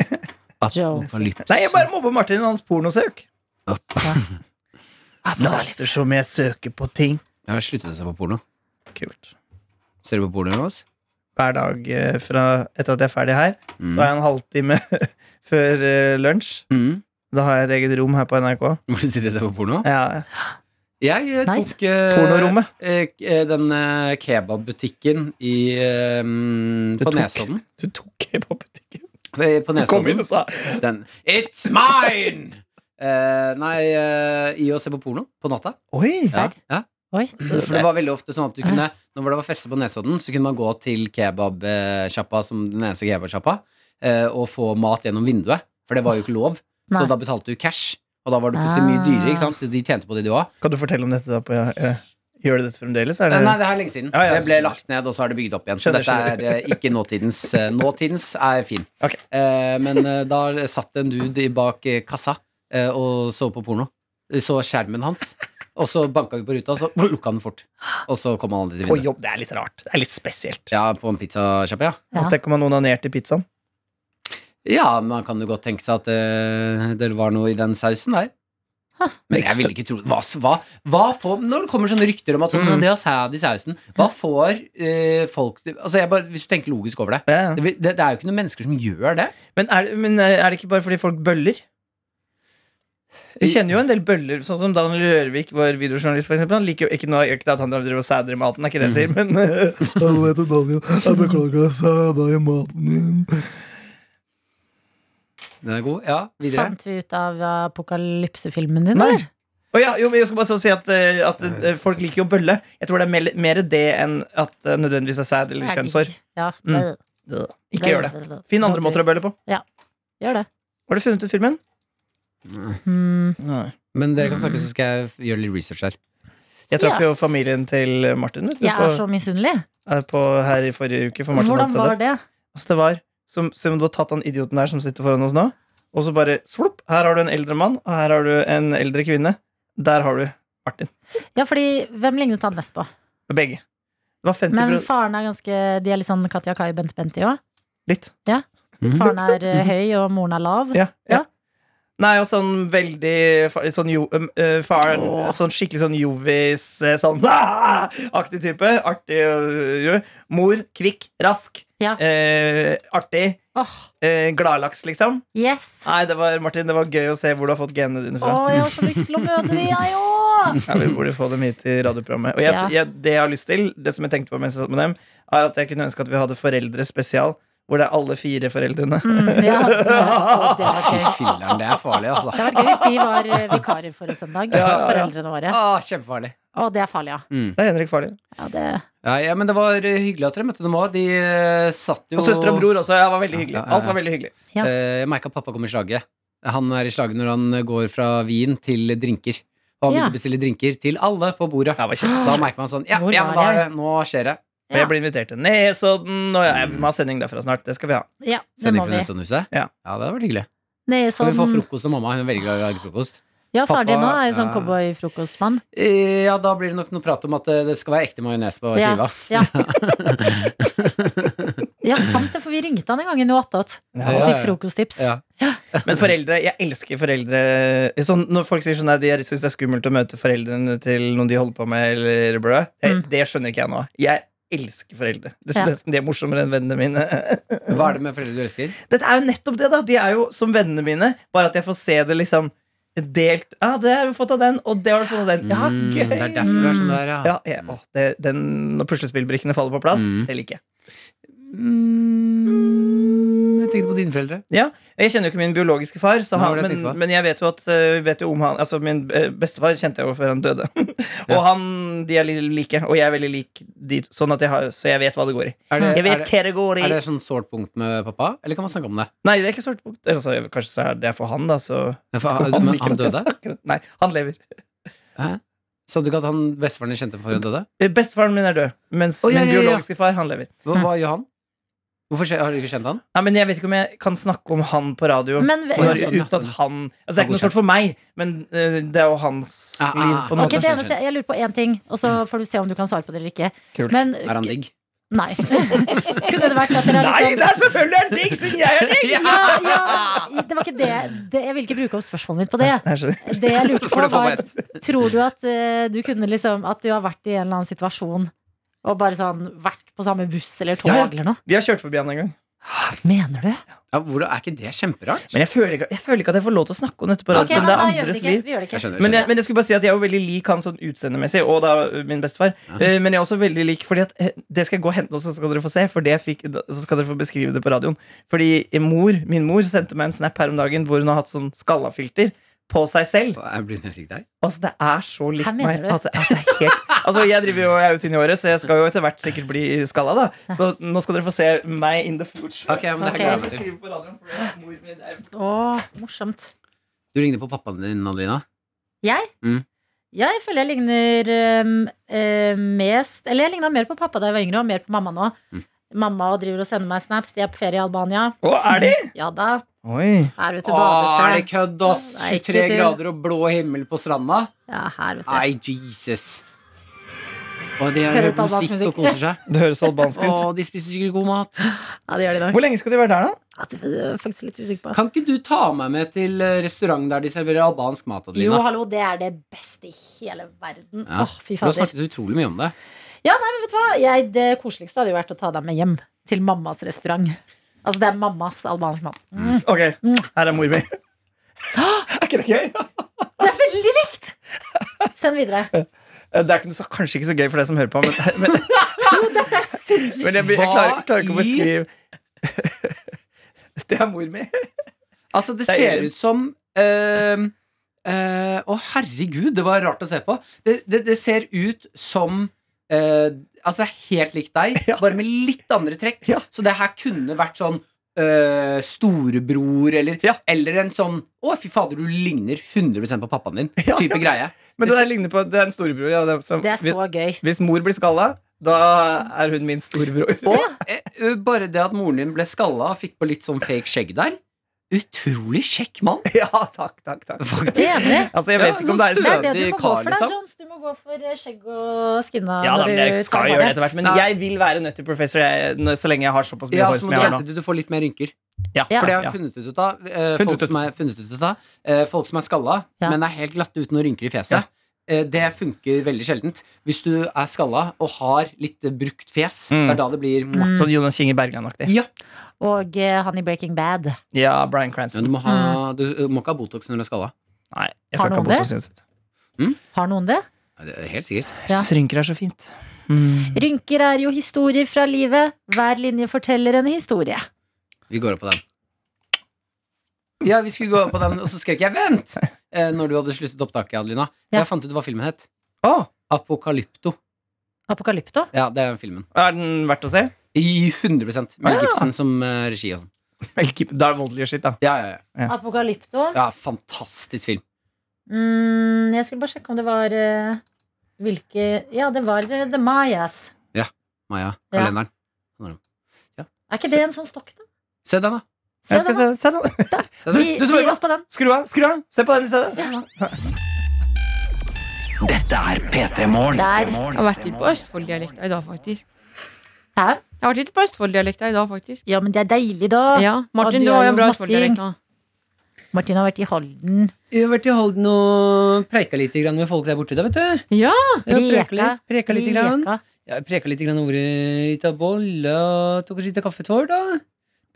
Jones.
Apokalypse.
Nei, jeg bare mobber Martin i hans pornosøk. Later
Apokalypse.
som jeg søker på ting.
Jeg har sluttet å se på porno.
Kult.
Ser du på porno, Jonas?
Hver dag eh, fra, etter at jeg er ferdig her,
Mm.
så har jeg en halvtime før eh, lunsj.
Mm.
Da har jeg et eget rom her på NRK.
Hvor du sitter og ser på porno?
Ja,
Jeg eh,
Nice.
tok eh,
Pornorommet.
eh, k- eh, den eh, kebabbutikken i eh, mm,
Du
På
tok-
Nesodden.
Du tok kebab-butikken.
Eh, På
Du kom
Nesodden.
inn og sa
Den It's mine! Eh, nei, eh, i å se på porno på natta.
Oi!
Ja,
Serr?
ja.
Oi.
For det var veldig ofte sånn at du kunne Når det var fester på Nesodden, så kunne man gå til kebabsjappa som den eneste kebabsjappa eh, og få mat gjennom vinduet. For det var jo ikke lov.
Nei. Ah.
Så da betalte du cash. Og da var det plutselig mye dyrere. Ikke sant? De tjente på det, de òg.
Kan du fortelle om dette da? På, eh, gjør du dette fremdeles? Er det,
Eh, Nei, det er lenge siden.
Ja, ja,
det ble
skjønner.
lagt ned, og så er det bygd opp igjen. Så
Skjønner,
dette er eh, ikke nåtidens. Eh, Nåtidens er fin.
Ok.
Eh, men eh, da satt en dude i bak eh, kassa eh, og så på porno. Vi Så skjermen hans, og så banka vi på ruta, og så lukka den fort. Og så kom han aldri til
på
vinduet.
jobb? Det er litt rart. Det er litt spesielt.
Ja, på en pizzasjappe, ja.
Ja.
Og Tenk om han onanerte i pizzaen.
Ja, man kan jo godt tenke seg at eh, det var noe i den sausen der. Men jeg ville ikke tro hva, hva, hva får, Når det kommer sånne rykter om at sånn,
Mm.
det er sæd i sausen, hva får eh, folk til altså jeg bare, Hvis du tenker logisk over det
Ja, ja.
det, vil- det, det er jo ikke noen mennesker som gjør det.
Men er, men eh, er det ikke bare fordi folk bøller? Vi kjenner jo en del bøller, sånn som Daniel Rørvik, vår videojournalist. For eksempel. han liker jo ikke noe ikke det at han driver og sæder i maten, er ikke det jeg sier, men eh, Alle heter Daniel. Jeg beklager, jeg sæda i maten din.
Den er god. Ja, videre.
Fant vi ut av apokalypsefilmen din,
Nei.
eller?
Å ja, jo, men jeg skal bare så si at, eh, at eh, folk liker jo bølle. Jeg tror det er mer, mer det enn at det nødvendigvis er sæd eller
Det er
kjønnshår.
digg. Ja.
Mm. Ikke gjør det. Finn andre måter å bølle på.
Gjør det.
Har du funnet ut filmen?
Hmm.
Mm.
Nei.
Men dere kan snakke, så skal jeg gjøre litt research her.
Jeg traff
Ja.
jo familien til Martin vet du,
Jeg er
på,
så misunnelig.
eh, på, her i forrige uke. For Martin
Hvordan
hadde sæd.
var det?
Altså det var som, som om du har tatt han idioten der som sitter foran oss nå, og så bare slopp, her har du en eldre mann, og her har du en eldre kvinne. Der har du Martin.
Ja, fordi hvem lignet han mest på?
Begge. Det var 50
Men
pro-
faren er ganske De er litt sånn Katja Kai Bent Benti òg.
Litt.
Mhm.
Faren er eh, høy, og moren er lav.
Ja, ja.
Ja.
Nei, og sånn veldig fa- sånn, jo, um, eh, faren, sånn skikkelig sånn jovis, eh, sånn "Ah!" aktig type. Artig. øh, øh. Mor, kvikk, rask,
Ja.
eh, artig.
Åh,
Eh, Gladlaks, liksom.
yes!
Nei, det var, Martin, det var gøy å se hvor du har fått genene dine
Å,
fra.
jeg har så lyst til å møte de, jeg òg!
Ja, vi burde få dem hit i radioprogrammet. Og jeg,
Ja.
jeg, det jeg har lyst til, det som jeg tenkte på mens jeg satt med dem, er at jeg kunne ønske at vi hadde foreldre spesial, hvor det er alle fire foreldrene.
Mm, ja, det, å, det var
Fy
gøy.
filler'n, det er farlig,
Det
altså.
var gøy hvis de var eh, vikarer for oss en dag.
Ja, ja, ja.
Foreldrene våre.
Ah, kjempefarlig.
Å, det er farlig, ja.
Mm.
Det er Henrik Farley.
ja det,
Ja, ja, men det var eh, hyggelig at dere møtte dem òg. De eh, satt jo
Og søster og bror også. Ja, var veldig
Ja,
hyggelig.
ja, ja, ja.
Alt var veldig hyggelig.
Ja.
Eh, Jeg merka pappa kom i slaget. Han er i slaget når han går fra vin til drinker. Og han begynte
Ja.
å bestille drinker til alle på bordet.
Ja, det var
Da
kjempekoselig.
merker man sånn Ja,
Hvor
ja
var
men da, er
jeg?
det- nå skjer det.
Og jeg blir invitert til Nesodden, og jeg
Mm.
må ha sending derfra snart. Det skal vi ha.
ja, det
Sending
må
fra
vi.
Nesoddenhuset.
Ja.
ja, det hadde vært hyggelig.
Nei,
Kan vi få
sånn,
frokost av mamma? Hun er veldig glad i å lage frokost.
ja, faren din
Pappa,
nå er jo sånn
ja.
cowboyfrokostmann.
Eh, Ja, da blir det nok noe prat om at eh, det skal være ekte majones på
Ja.
skiva.
Ja. Ja, sant det, for vi ringte han en gang i noe attåt
Ja.
og
Ja,
fikk
ja.
frokosttips.
Ja.
Men foreldre, jeg elsker foreldre sånn, Når folk sier sånn at de syns det er skummelt å møte foreldrene til noen de holder på med, eller brød, jeg,
Mm.
det skjønner ikke jeg nå. Jeg elsker foreldre. Det
Ja.
synes nesten de er morsommere enn vennene mine.
Hva er det med foreldre du elsker?
Dette er jo nettopp det, da. De er jo som vennene mine, bare at jeg får se det liksom delt. Ja, ah, det har du fått av den, og det har du fått av den. Ja,
Mm,
gøy!
det er derfor du er sånn der, ja.
Ja, jeg, å, det, den, når puslespillbrikkene faller på plass,
Mm.
det liker jeg.
Mm, jeg tenkte på dine foreldre.
Jeg kjenner jo ikke min biologiske far, så
Hva var det jeg
han, men,
tenkte på?
men jeg vet jo at eh, vet jo om han, altså min eh, bestefar kjente jeg jo før han døde. og
Ja.
han, de er litt like, og jeg er veldig lik de, sånn at jeg har, så jeg vet hva det går i.
Er det,
Jeg
er
vet
det,
hva det går i!
er det sånn sårt punkt med pappa, eller kan man snakke om det?
Nei, det er ikke svart punkt. Altså, kanskje så er det for han, da, så
Men fa-
han
Ah, men
liker
han
at jeg
døde?
snakker om- Nei, han lever.
Hæ? Sa du ikke at han bestefaren din kjente for en døde?
Eh, Bestefaren min er død, mens
Å, ja,
min
ja, ja.
biologiske far, han lever.
Hva, hva gjør han? Hvorfor skje- har du ikke kjent han?
Nei, men Jeg vet ikke om jeg kan snakke om han på radio.
Men ve-
Å, ja,
når,
sånn, ja.
uten at han altså, Det er ikke noe stort for meg, men eh, det er jo hans
Ah, ah,
liv. på en
ah,
Ok,
måte
det eneste, Jeg lurer på én ting, og så får du se om du kan svare på det eller ikke.
Kult.
Men
Er han digg?
Nei. Kunne det vært at dere har
Nei,
liksom
det er selvfølgelig en digg, siden jeg er digg!
ja, ja, det var ikke det. det Jeg vil ikke bruke opp spørsmålet mitt på det.
Jeg skjønner.
Det jeg lurte
For det
på,
får
var Tror du at eh, du kunne liksom At du har vært i en eller annen situasjon og bare sånn vært på samme buss eller tog
Ja, ja.
eller noe?
Vi har kjørt forbi han en gang.
Mener du?
Ja, hvor, er ikke det kjemperart?
Men jeg føler, ikke, jeg føler ikke at jeg får lov til å snakke om dette på radio,
Ok,
siden
nei,
det er
nei, gjør
andres
det ikke.
liv.
Vi gjør
Jeg
det ikke.
skjønner.
Men jeg,
skjønner.
men jeg skulle bare si at jeg er jo veldig lik han sånn utseendemessig, og da eh, min bestefar. Eh, Men jeg er også veldig lik, fordi at eh, det skal jeg gå og hente nå, så skal dere få se. For det jeg fikk, da- så skal dere få beskrive det på radioen. Fordi eh, mor, min mor sendte meg en snap her om dagen hvor hun har hatt sånn skallafilter på seg selv.
Jeg blir helt lik deg.
Altså, det er så
Her
likt
mener
meg
du?
at, at det er helt Altså, jeg driver jo, jeg er jo tynn i håret, så jeg skal jo etter hvert sikkert bli skalla, da. Så nå skal dere få se meg in the future.
Ok, men det her gleder
Ok.
Jeg
jeg meg til.
beskriver på radioen, for det er mor min er-
Å, morsomt.
Du ligner på pappaen din, Adelina.
Jeg?
Mm.
Ja, jeg føler jeg ligner øhm, øh, mest Eller jeg ligna mer på pappa da jeg var yngre, og mer på mamma nå.
Mm.
Mamma driver og sender meg snaps. De er på ferie i Albania.
Å, er de?
Ja da,
Oi.
her vet du
Å, er det
badested.
kødd, ass?
Nei, ikke
23
til.
grader og blå himmel på stranda?
Ja, her vet du.
Nei, Jesus. Og de
Hører
hører
på
på
albansk
musikk og
musikk.
koser seg.
Det høres albansk
Å,
ut.
de spiser sikkert god mat.
Ja, det gjør de nok.
Hvor lenge skal de være der, da?
Ja, det det er jeg faktisk litt usikker på.
Kan ikke du ta meg med til eh, restaurant der de serverer albansk mat,
Jo,
Adelina?
hallo, det er det beste i hele verden.
Ja.
Åh, fy
Du har
fader.
snakket utrolig mye om det.
Men vet du hva? Jeg, det koseligste hadde jo vært å ta deg med hjem til mammas restaurant. Altså, det er mammas albansk mat. Mm.
Ok, her er mor mi. Er ikke det gøy?
Det er veldig likt! Send videre.
Eh, Det er ikke, så, kanskje ikke så gøy for deg som hører på, men, men,
Dette er sinnssykt.
men jeg, blir- jeg klarer, klarer ikke å
Hva i-
beskrive Det er mor mi.
Altså, det
Det er
ser
Elin.
ut som ehm, eh, Å, herregud, det var rart å se på. Det, det, det ser ut som eh, Altså, det er helt likt deg,
Ja.
bare med litt andre trekk.
Ja.
Så det her kunne vært sånn eh, storebror, eller,
Ja.
eller en sånn Å, fy fader, du ligner 100 på pappaen din.
Ja.
Type greie.
Men det der ligner på Det er en storebror. Ja, det er, som-
Det er så gøy.
Hvis mor blir skalla, da er hun min storebror.
Og eh, ø, bare det at moren din ble skalla og fikk på litt sånn fake skjegg der. Utrolig kjekk mann,
Ja, takk, takk, takk.
faktisk.
Enig.
Altså, jeg
Ja,
vet ikke om det er
noen
Det er det du
Stødig
må gå
kar,
for, da,
liksom.
Jones. Du må gå for eh, skjegg og skinna.
ja, da,
når
men
du
jeg
tar
skal gjøre det
badet.
etter hvert, men
Ja.
jeg vil være nøttig professor jeg, når- så lenge jeg har såpass mye
Ja,
hår
så
som
må
jeg
du
har nå.
vente til du får litt mer rynker.
Ja,
Ja.
For det har
ja.
jeg funnet ut av eh,
Funnet
folk,
ut.
som er, funnet ut av, eh, folk som er skalla,
Ja.
men er helt glatte uten noen rynker i fjeset.
Ja.
Eh, Det funker veldig sjeldent. Hvis du er skalla og har litt eh, brukt fjes,
Mm.
det er da det blir mwah.
Sånn Jonas Kinge Bergan-aktig.
Ja.
Og eh, han i Breaking Bad.
Ja, Bryan
Men
Cranston.
du må, ha,
Mm.
du eh, må ikke ha Botox når du er skalla.
Nei, jeg
Har
skal ikke ha
noen
Botox
det?
uansett.
Har noen det?
Ja, det er Helt sikkert.
Ja.
Srynker er så fint. Mm.
Rynker er jo historier fra livet. Hver linje forteller en historie.
Vi går opp på den. Ja, vi skulle gå opp på den, og så skrek jeg 'vent!' eh, når du hadde sluttet opptaket, Adelina.
Ja.
Jeg fant ut hva filmen het.
Å,
Apokalypto.
Apokalypto.
Ja, det er den filmen.
er den verdt å se?
I 100 Mel Gibson som eh, regi og sånn.
Vel, keep- Da er det voldelig shit, da.
Ja, ja, ja.
Apokalypto.
ja, fantastisk film.
Mm, jeg skulle bare sjekke om det var eh, hvilke Ja, det var eh, The Mayas.
Maja,
Ja.
kalenderen.
Er ikke det en sånn stokk, da?
Se den, da.
Se
Jeg skal
det, da.
se, se den.
se den.
Vi,
Du som
vi
hører på.
gir oss på den.
Skru av, skru av! Se på den i stedet.
Dette er P3 Morgen.
Der.
Jeg har vært litt på Østfold-dialekta i dag, faktisk.
Hæ?
Jeg har vært litt på Østfold-dialekta i dag, faktisk.
Ja, men det er deilig, da.
Ja, Martin,
Ja, du
du
er
har jo
jo
en bra
massing.
Østfold-dialekt nå.
Martin har vært i Halden.
Jeg har vært i Halden og preika litt grann med folk der borte, da, vet du.
Ja!
Jeg har preka litt, preka litt grann.
Reka.
Jeg har preka litt grann over i lita bolle og tok oss litt kaffetår, da.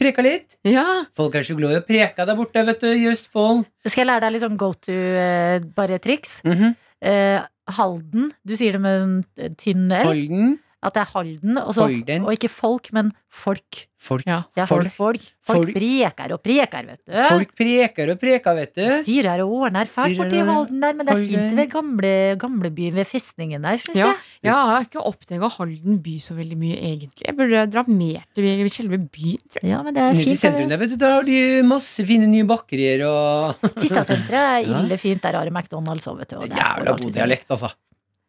Preka litt.
ja.
Folk er så glad i å preka der borte, vet du, i Østfold.
Skal jeg lære deg litt sånn go to eh, bare triks? Eh, Halden. Du sier det med en sånn tynn L.
Halden.
At det er Halden. Og, så,
Halden.
og ikke folk, men folk.
Folk,
Ja.
Ja,
Folk.
folk. folk.
Folk.
preker og preker, vet du.
folk preker og preker, vet du.
Styrer og ordner fælt
Styrer
borti
og-
Halden der, men det er
Halden.
fint ved gamle- gamlebyen, ved festningen der, syns
Ja.
jeg.
Jeg har ikke oppdaga Halden by så veldig mye, egentlig. Jeg burde dra mer til selve byen. tror jeg.
Ja, men det er
Nede i
fint. eh,
sentrum der, vet du, der har de masse fine nye bakerier og
Tistasenteret er
Ja.
ille fint. Der har de McDonald's òg, vet du. og der får du
Jævla
alltid
god
det.
dialekt, altså.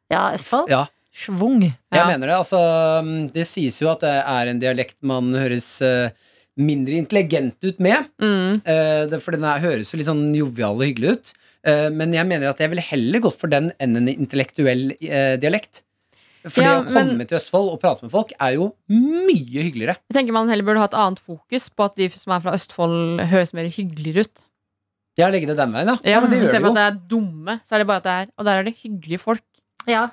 Ja, Østfold.
Ja.
Schwung.
Jeg
Ja.
mener det. Altså, mm, det sies jo at det er en dialekt man høres eh, mindre intelligent ut med.
Mm.
eh, det- For den er, høres jo litt sånn jovial og hyggelig ut. Eh, Men jeg mener at jeg ville heller gått for den enn en intellektuell eh, dialekt. For
Ja,
det å komme
men-
til Østfold og prate med folk er jo mye hyggeligere.
Jeg tenker Man heller burde ha et annet fokus på at de som er fra Østfold, høres mer hyggeligere ut.
Jeg har legget det den veien, ja. ja men det gjør
Istedenfor
det jo.
at det er dumme, så er det bare at det er Og der er det hyggelige folk.
Ja.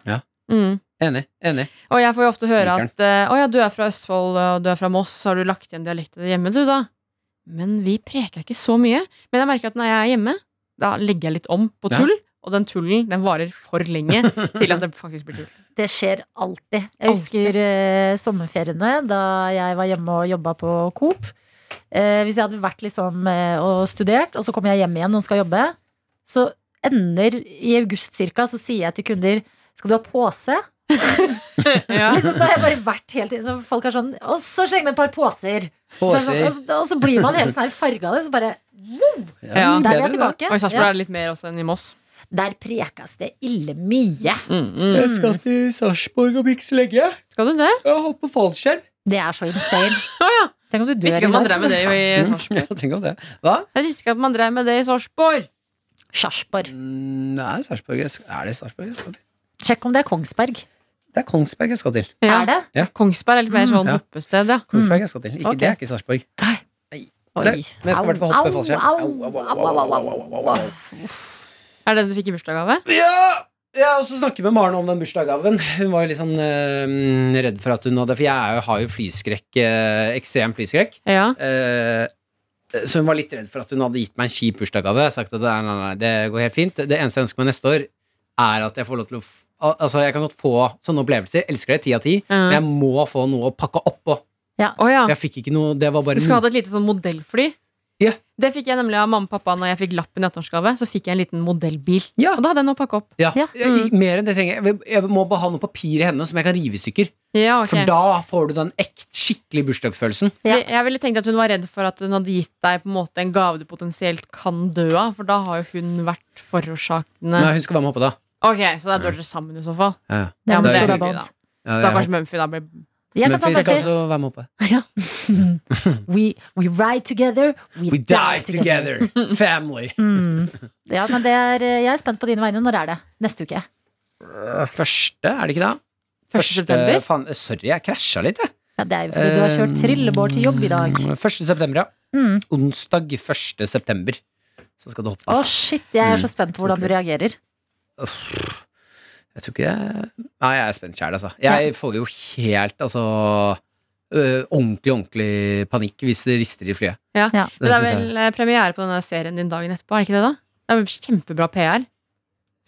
Mm.
Enig. enig
Og jeg får jo ofte høre
Liker
at eh, Å ja, du er fra Østfold og du er fra Moss, har du lagt igjen dialekten hjemme, du, da? Men vi preker ikke så mye. Men jeg merker at når jeg er hjemme, da legger jeg litt om på
Ja.
tull. Og den tullen den varer for lenge til at det faktisk blir tull.
Det skjer alltid. Jeg
Alltid.
husker eh, sommerferiene da jeg var hjemme og jobba på Coop. Eh, hvis jeg hadde vært liksom eh, og studert, og så kommer jeg hjem igjen og skal jobbe, så ender i august cirka, så sier jeg til kunder skal du ha pose?
Ja.
Liksom, da har jeg bare vært helt inn, så folk er sånn Og så slenger vi et par poser. Så er det
Påser.
sånn, og, og så blir man helt sånn her farga av det. Så bare "Mm, Der er
Ja.
jeg
bedre det.
tilbake.
Og i Sarpsborg
Ja.
er det litt mer også enn i Moss.
Der prekes det ille mye.
Jeg skal til Sarpsborg om ikke så lenge.
Skal du det?
Jeg har på fallskjerm.
Det er så insane.
ja.
Tenk om du
Visste
dør
ikke
i
at man drev med det i
Mm.
Sarpsborg.
Ja, tenk om det. Hva?
Jeg visste ikke at man drev med det i Sarpsborg.
Sarpsborg.
Mm, Nei, Sarpsborg jeg skal- Er det Sarpsborg jeg skal til?
Sjekk om det er Kongsberg.
Det er Kongsberg jeg skal til.
Ja.
Er det?
Kongsberg er litt mer sånn
Ja.
hoppested, ja.
Kongsberg jeg skal til. Ikke,
Ok.
Det er ikke Sarpsborg.
Oi.
Det- men jeg skal i hvert fall hoppe
Au,
fallskjerm.
au,
Au, au, au,
au, au, au, au, au, au.
Er det det du fikk i bursdagsgave?
Ja! Jeg har også snakket med Maren om den bursdagsgaven. Hun var jo litt sånn eh, redd for at hun hadde For jeg er jo, har jo flyskrekk. eh, ekstrem flyskrekk.
Ja.
Eh, så hun var litt redd for at hun hadde gitt meg en kjip bursdagsgave. Jeg har sagt at nei, nei, nei, det går helt fint. Det eneste jeg ønsker meg neste år, er at jeg får lov til å f al- Altså, jeg kan godt få sånne opplevelser. Elsker det, ti av ti. Men jeg må få noe å pakke oppå.
Å ja.
Jeg fikk ikke noe Det var bare
Du skulle hatt et lite sånn modellfly.
Ja.
Det fikk jeg nemlig av mamma og pappa Når jeg fikk lappen i ettårsgave. Så fikk jeg en liten modellbil.
Ja.
Og da hadde jeg noe å pakke opp.
Ja,
Ja. Mm.
Jeg, Mer enn det trenger jeg. jeg. Jeg må bare ha noe papir i hendene som jeg kan rive i stykker.
Ja, ok.
For da får du den ekte, skikkelig bursdagsfølelsen.
Fordi Jeg ville tenkt at hun var redd for at hun hadde gitt deg på en måte en gave du potensielt kan dø av, for da har jo hun vært forårsakende.
Nei, hun skal være med oppå da.
Ok, Så da dør dere sammen i så fall.
Ja, det
Det er
Ja, men
er
Mumphy
hyggelig,
Dabans.
ja,
Da kanskje Mumphy da blir
Jeg kan
Men
ta
vi skal
fetter.
også være med oppe.
We, we ride together, we,
We die together, family.
Mm. Ja, men det er, eh, jeg er spent på dine vegne. Når er det? Neste uke. Øh,
Første, er det ikke det?
Første september?
Faen, sorry, jeg krasja litt, jeg.
Ja, det er jo fordi du har kjørt trillebår til jobb i dag.
Ehm, Mm, Første september, ja.
Mm.
Onsdag 1. september. Så skal det
Å,
hoppes.
shit, jeg er så spent på hvordan du reagerer.
Jeg tror ikke jeg Nei, jeg er spent sjæl, altså. Jeg får jo helt, altså øh, Ordentlig, ordentlig panikk hvis det rister i flyet.
Ja.
Ja.
Men det er
synes jeg.
vel eh, premiere på denne serien din dagen etterpå, er det ikke det da? Det er vel kjempebra PR.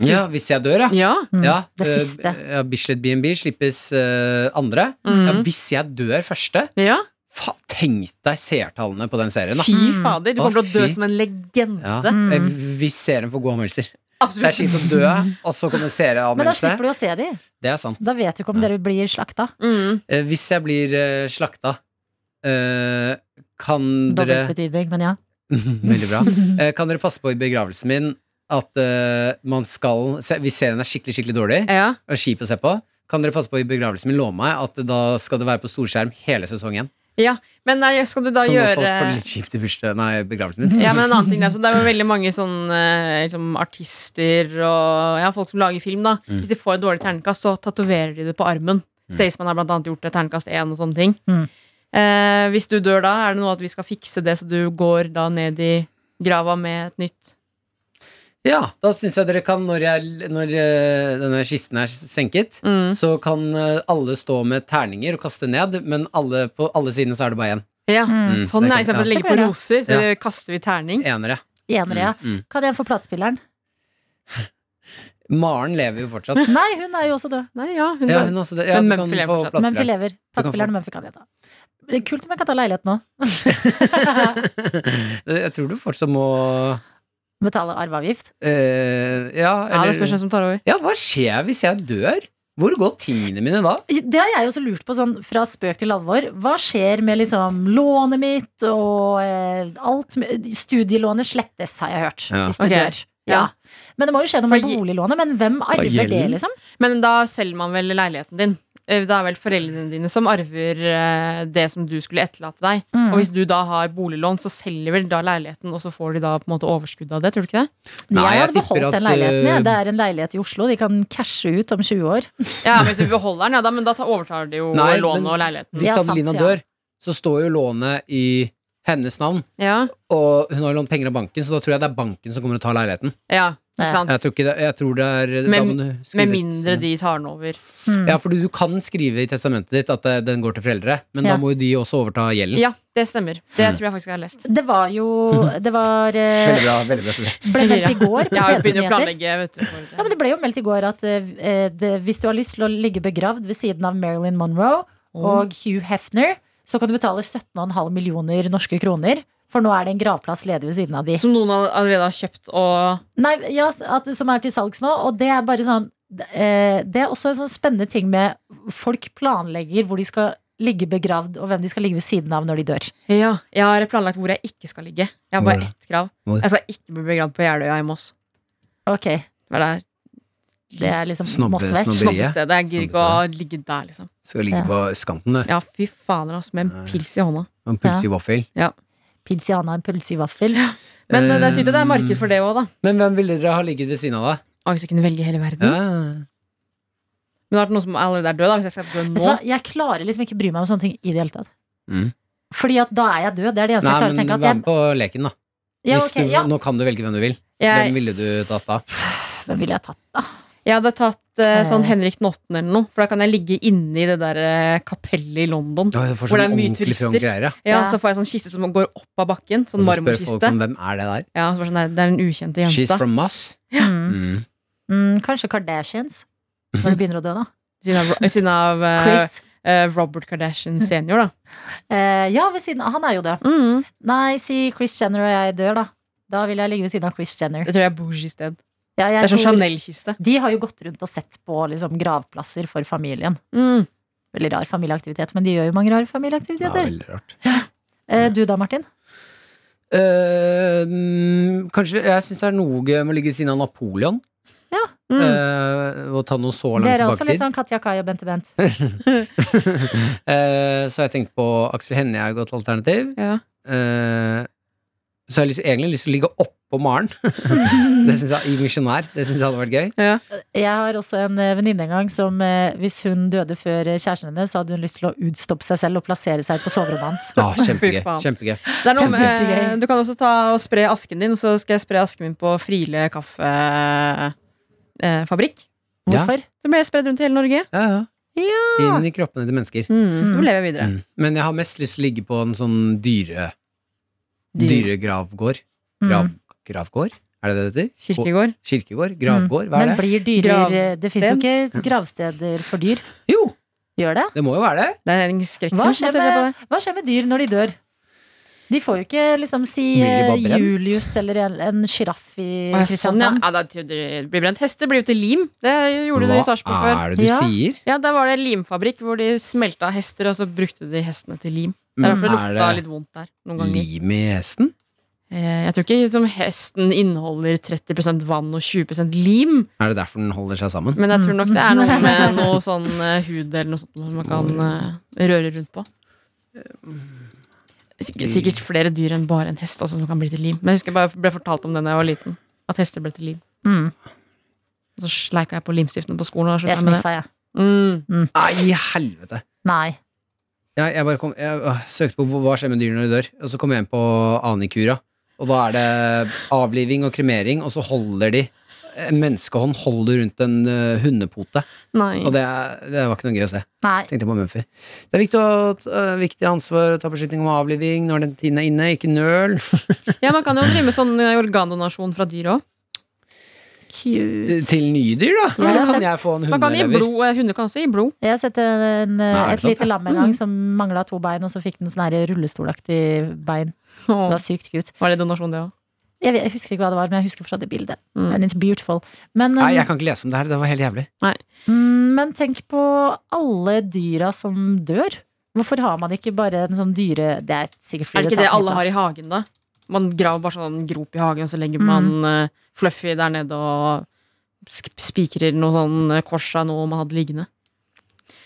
Ja, hvis jeg dør, ja.
Ja.
Mm.
ja
det
øh,
siste.
ja, Bislett BNB slippes øh, andre.
Mm.
Ja, hvis jeg dør første
ja.
fa Tenk deg seertallene på den serien, da.
Fy
Mm.
fader, du
Å,
kommer til å dø
fy.
som en legende.
Ja.
Mm.
eh, Hvis serien får gode anmeldelser. Det er
Absolutt.
kjipt å dø, og så kommer
Men da
serieanmeldelse.
slipper du å se de.
Det er sant.
Da vet du ikke om
Ja.
dere blir slakta.
Mm.
Eh, Hvis jeg blir uh, slakta, eh, kan dere
Dobbeltbetydning, men ja.
Mhm.
Veldig bra. Eh, kan dere passe på i begravelsen min at eh, man skal se, Hvis serien er skikkelig skikkelig dårlig
Ja.
og kjip å se på, kan dere passe på i begravelsen min love meg at da skal det være på storskjerm hele sesongen?
Men nei, skal du da eh, Mhm.
Sånn at
gjøre
folk får det litt kjipt i bursdag, nei, begravelsen min.
Ja, men en annen ting der, så Det er jo veldig mange sånn, eh, liksom,
Mm.
artister og ja, folk som lager film. da Hvis de får et dårlig terningkast, så tatoverer de det på armen. Staysman har blant annet gjort det, terningkast 1 og sånne ting.
Mm.
Eh, hvis du dør da, er det noe at vi skal fikse det, så du går da ned i grava med et nytt
Ja, da syns jeg dere kan, når, jeg, når eh, denne kisten er senket,
Mm.
så kan eh, alle stå med terninger og kaste ned, men alle, på alle sidene så er det bare én.
Ja,
Mm, det
sånn ja.
kan-
Istedenfor å
ja.
legge på roser, så
Ja.
kaster vi terning.
Enere.
Enere, ja.
Mm, mm.
Hva er det for platespilleren?
Maren lever jo fortsatt.
Nei, hun er jo også død.
Nei, ja, hun
Ja,
dør.
hun også det. Ja,
Men
du kan
Mumphy lever
få
fortsatt.
plass
Mumphy
til
lever. Platespilleren Mumphy kan jeg ta. Det er kult om jeg kan ta leilighet nå.
det. Jeg tror du fortsatt må
Betale arveavgift.
eh, Ja,
ja, det spørs
eller
hvem som tar over.
Ja, hva skjer hvis jeg dør? Hvor går tingene mine da?
Det har jeg også lurt på, sånn fra spøk til alvor. Hva skjer med liksom lånet mitt og eh, alt? med- Studielånet slettes, har jeg hørt.
Ja.
Hvis du
Ok.
dør. Ja.
Ja.
Men det må jo skje noe med
For gi-
boliglånet. Men hvem arver det,
gjelden?
liksom?
Men da selger man vel leiligheten din. Eh, Det er vel foreldrene dine som arver eh, det som du skulle etterlate deg.
Mm.
Og hvis du da har boliglån, så selger vel da leiligheten, og så får de da på en måte overskuddet av det, tror du ikke det?
Nei,
jeg
jeg
hadde
tipper
beholdt den
at,
leiligheten.
eh,
jeg. Det er en leilighet i Oslo. De kan cashe ut om 20 år.
Ja, men hvis vi beholder den, ja da, men da tar- overtar de jo
Nei,
lånet
men-
og leiligheten.
Hvis
Ja, sant,
Adelina
ja.
dør, så står jo lånet i hennes navn.
Ja,
Og hun har lånt penger av banken, så da tror jeg det er banken som kommer og tar leiligheten.
ja, ikke
Ja.
sant?
Jeg tror, ikke det, jeg tror det er da
Med-
må du skrive
Med
ut-
mindre de tar den over.
Mm.
Ja, for du, du kan skrive i testamentet ditt at eh, den går til foreldre, men
Ja.
da må jo de også overta gjelden.
Ja, det stemmer. Det
Mm.
tror jeg faktisk jeg har lest.
Det var jo Det var eh,
Veldig bra. veldig bra Silje.
Ble meldt i går på
Jeg har jo begynt å
PT-nyheter.
planlegge, vet du. for-
Ja, men Det ble jo meldt i går at eh, det, hvis du har lyst til å ligge begravd ved siden av Marilyn Monroe
Mm.
og Hugh Hefner, så kan du betale 17,5 millioner norske kroner. For nå er det en gravplass ledig ved siden av de.
Som noen all- allerede har kjøpt og
Nei, ja, at, som er til salgs nå. Og det er bare sånn eh, Det er også en sånn spennende ting med folk planlegger hvor de skal ligge begravd, og hvem de skal ligge ved siden av når de dør.
Ja, jeg har planlagt hvor jeg ikke skal ligge. Jeg har
Hvor?
bare ett krav.
Hvor?
Jeg skal ikke bli begravd på Jeløya i Moss.
Ok,
Det er der
Det er liksom
Snobbe-
Mossvest.
snobbe- Brie?
snobbestedet. Jeg gidder ikke å ligge der, liksom.
Skal ligge
Ja.
på skanten, du.
Ja, fy fader, altså. Med en pils i hånda.
Og en pølse i vaffel.
Pinsiana, en pølse i vaffel.
Men eh, det er
Eh,
sykt at det er marked for det òg, da.
Men hvem ville dere ha ligget ved siden av, da?
Å, hvis jeg kunne velge hele
Mhm.
verden.
Ja.
Men det har vært noen som allerede er død, da. Hvis jeg skal dø
Vet du
nå.
hva, Jeg klarer liksom ikke bry meg om sånne ting i det hele tatt.
Mm.
Fordi at da er jeg død. Det er det eneste
Nei,
Altså, jeg klarer å
men
tenke.
vær med
At
på leken, da.
jeg, ja,
Hvis
ok,
du,
ja.
Nå kan du velge hvem du vil. Hvem
Jeg,
ville du tatt da?
Hvem ville jeg tatt, da?
jeg hadde tatt eh, sånn
Eh.
Henrik den 8. eller noe, for da kan jeg ligge inni det der eh, kapellet i London.
Ja, jeg får
Hvor det
sånn
er mye
ordentlig
turister.
fjong greier, ja.
Ja,
Ja.
Så får jeg sånn kiste som går opp av bakken.
Og
Sånn
så spør folk
marmorkiste.
sånn, hvem er det der?
Ja, så bare sånn, "Nei, det er den ukjente
She's
jenta.
from Moss.
Mm.
Mm.
Mm, kanskje Kardashians. Når de begynner å dø, da.
Siden av, ved siden av eh,
Chris.
eh, Robert Kardashian senior, da.
Eh, ja, ved siden av. Han er jo død.
Mm.
Nei, si Chris Jenner og jeg dør, da. Da vil jeg ligge ved siden av Chris Jenner.
Det tror jeg er bougie sted.
Ja, jeg
Det er sånn
tror-
Chanel-kiste.
De har jo gått rundt og sett på liksom, gravplasser for familien.
Mm.
Veldig rar familieaktivitet, men de gjør jo mange rare familieaktiviteter.
veldig rart.
eh, du da, Martin?
Mm. Eh, mm, kanskje Jeg syns det er noe gøy med å ligge ved siden av Napoleon.
Mm.
eh, og ta noe så langt
Dere er også
tilbake i
litt
tid.
sånn Katja Kai og Bente Bent.
Eh, så jeg tenkte på Aksel Hennie er et godt alternativ.
Ja.
Eh, så jeg har lyst, egentlig lyst til å ligge oppå Maren. det synes jeg, I misjonær. Det syns jeg hadde vært gøy.
Jeg har også en eh, venninne en gang som eh, hvis hun døde før eh, kjæresten hennes, så hadde hun lyst til å utstoppe seg selv og plassere seg på soverommet hans.
Ah, kjempegøy.
Fy faen.
kjempegøy
Det er noe med,
Kjempegøy.
du kan også ta og spre asken din, så skal jeg spre asken min på Friele kaffefabrikk. Eh, fabrikk.
Ja.
Hvorfor?
så ble jeg spredd rundt i hele Norge.
ja, ja. Inn i kroppene til mennesker.
Mm. Så lever jeg videre.
Mm. Men jeg har mest lyst til å ligge på en sånn dyre
Mm. Dyr. Mm.
dyregravgård.
Mm.
Grav, gravgård? Er det det det heter?
Kirkegård. Mm.
Gå- Kirkegård? Gravgård? Hva er
Men
det?
blir dyrer eh,
Grav-
Det fins jo ikke gravsteder for dyr.
Jo,
Gjør det?
det må jo være det.
Det er en skrekkfilm.
Hva
som
skjer,
baserer seg på det.
med, hva skjer med dyr når de dør? De får jo ikke liksom si
Blir de
eh,
bare brent?
Julius eller en, en sjiraff i
Å, ja, sånn, ja.
Kristiansand.
Ja, da tror jeg det blir brent. Hester blir jo til lim. Det gjorde de i Sarpsborg
Hva
før.
er det du
Ja.
sier?
Ja, Der var det en limfabrikk hvor de smelta hester, og så brukte de hestene til lim. Det er derfor det
Mm. Er
lukta
det
litt vondt der noen ganger.
lim i hesten?
Eh, Jeg tror ikke som hesten inneholder 30 vann og 20 lim,
Er det derfor den holder seg sammen?
men jeg tror nok det er noe med noe sånn eh, hud eller noe sånt som man kan eh, røre rundt på.
Eh,
Sikkert, sikkert flere dyr enn bare en hest altså, som kan bli til lim. Men jeg husker jeg bare ble fortalt om det da jeg var liten. At hester ble til lim.
Mm.
Og så sleika jeg på limstiftene på skolen. Og da
Det
slutta jeg med det.
sniffa jeg.
Mm.
Nei, i helvete!
Nei.
Ja, jeg bare kom, jeg, øh, søkte på hva hva skjer med dyr når de dør, og så kom jeg inn på Anikura. Og da er det avliving og kremering, og så holder de En menneskehånd holder rundt en øh, hundepote.
Nei.
Og det, er- det var ikke noe gøy å se.
Nei.
Tenkte jeg på Mumphy. Det er viktig, å, øh, viktig ansvar å ta beslutning om avliving når den tiden er inne, ikke nøl.
Ja, man kan jo drive med sånn eh, organdonasjon fra dyr òg. Cute.
Til nye dyr, da.
Ja,
Eller
sett.
kan jeg få en
Man kan gi
hundelever?
blod, eh, Hunder kan også gi blod.
Jeg har sett en, eh,
er det
et
sant,
lite lam en
Mm.
gang som mangla to bein, og så fikk den sånn her rullestolaktig bein. Det var
Åh,
sykt cute.
Var det donasjon, det òg?
Jeg, vet- jeg husker ikke hva det var, men jeg husker fortsatt det bildet.
Mm.
And it's beautiful. Men, um,
Nei, jeg kan ikke lese om det her. Det var helt jævlig.
mm, men tenk på alle dyra som dør. Hvorfor har man ikke bare en sånn dyre Det er sikkert
Er
fordi
det ikke det
tar så mye
alle har i
plass.
hagen, da? Man graver bare sånn grop i hagen, og så legger
Mm.
man eh, Fluffy der nede og sk- spikrer noe sånn eh, kors av noe man hadde liggende.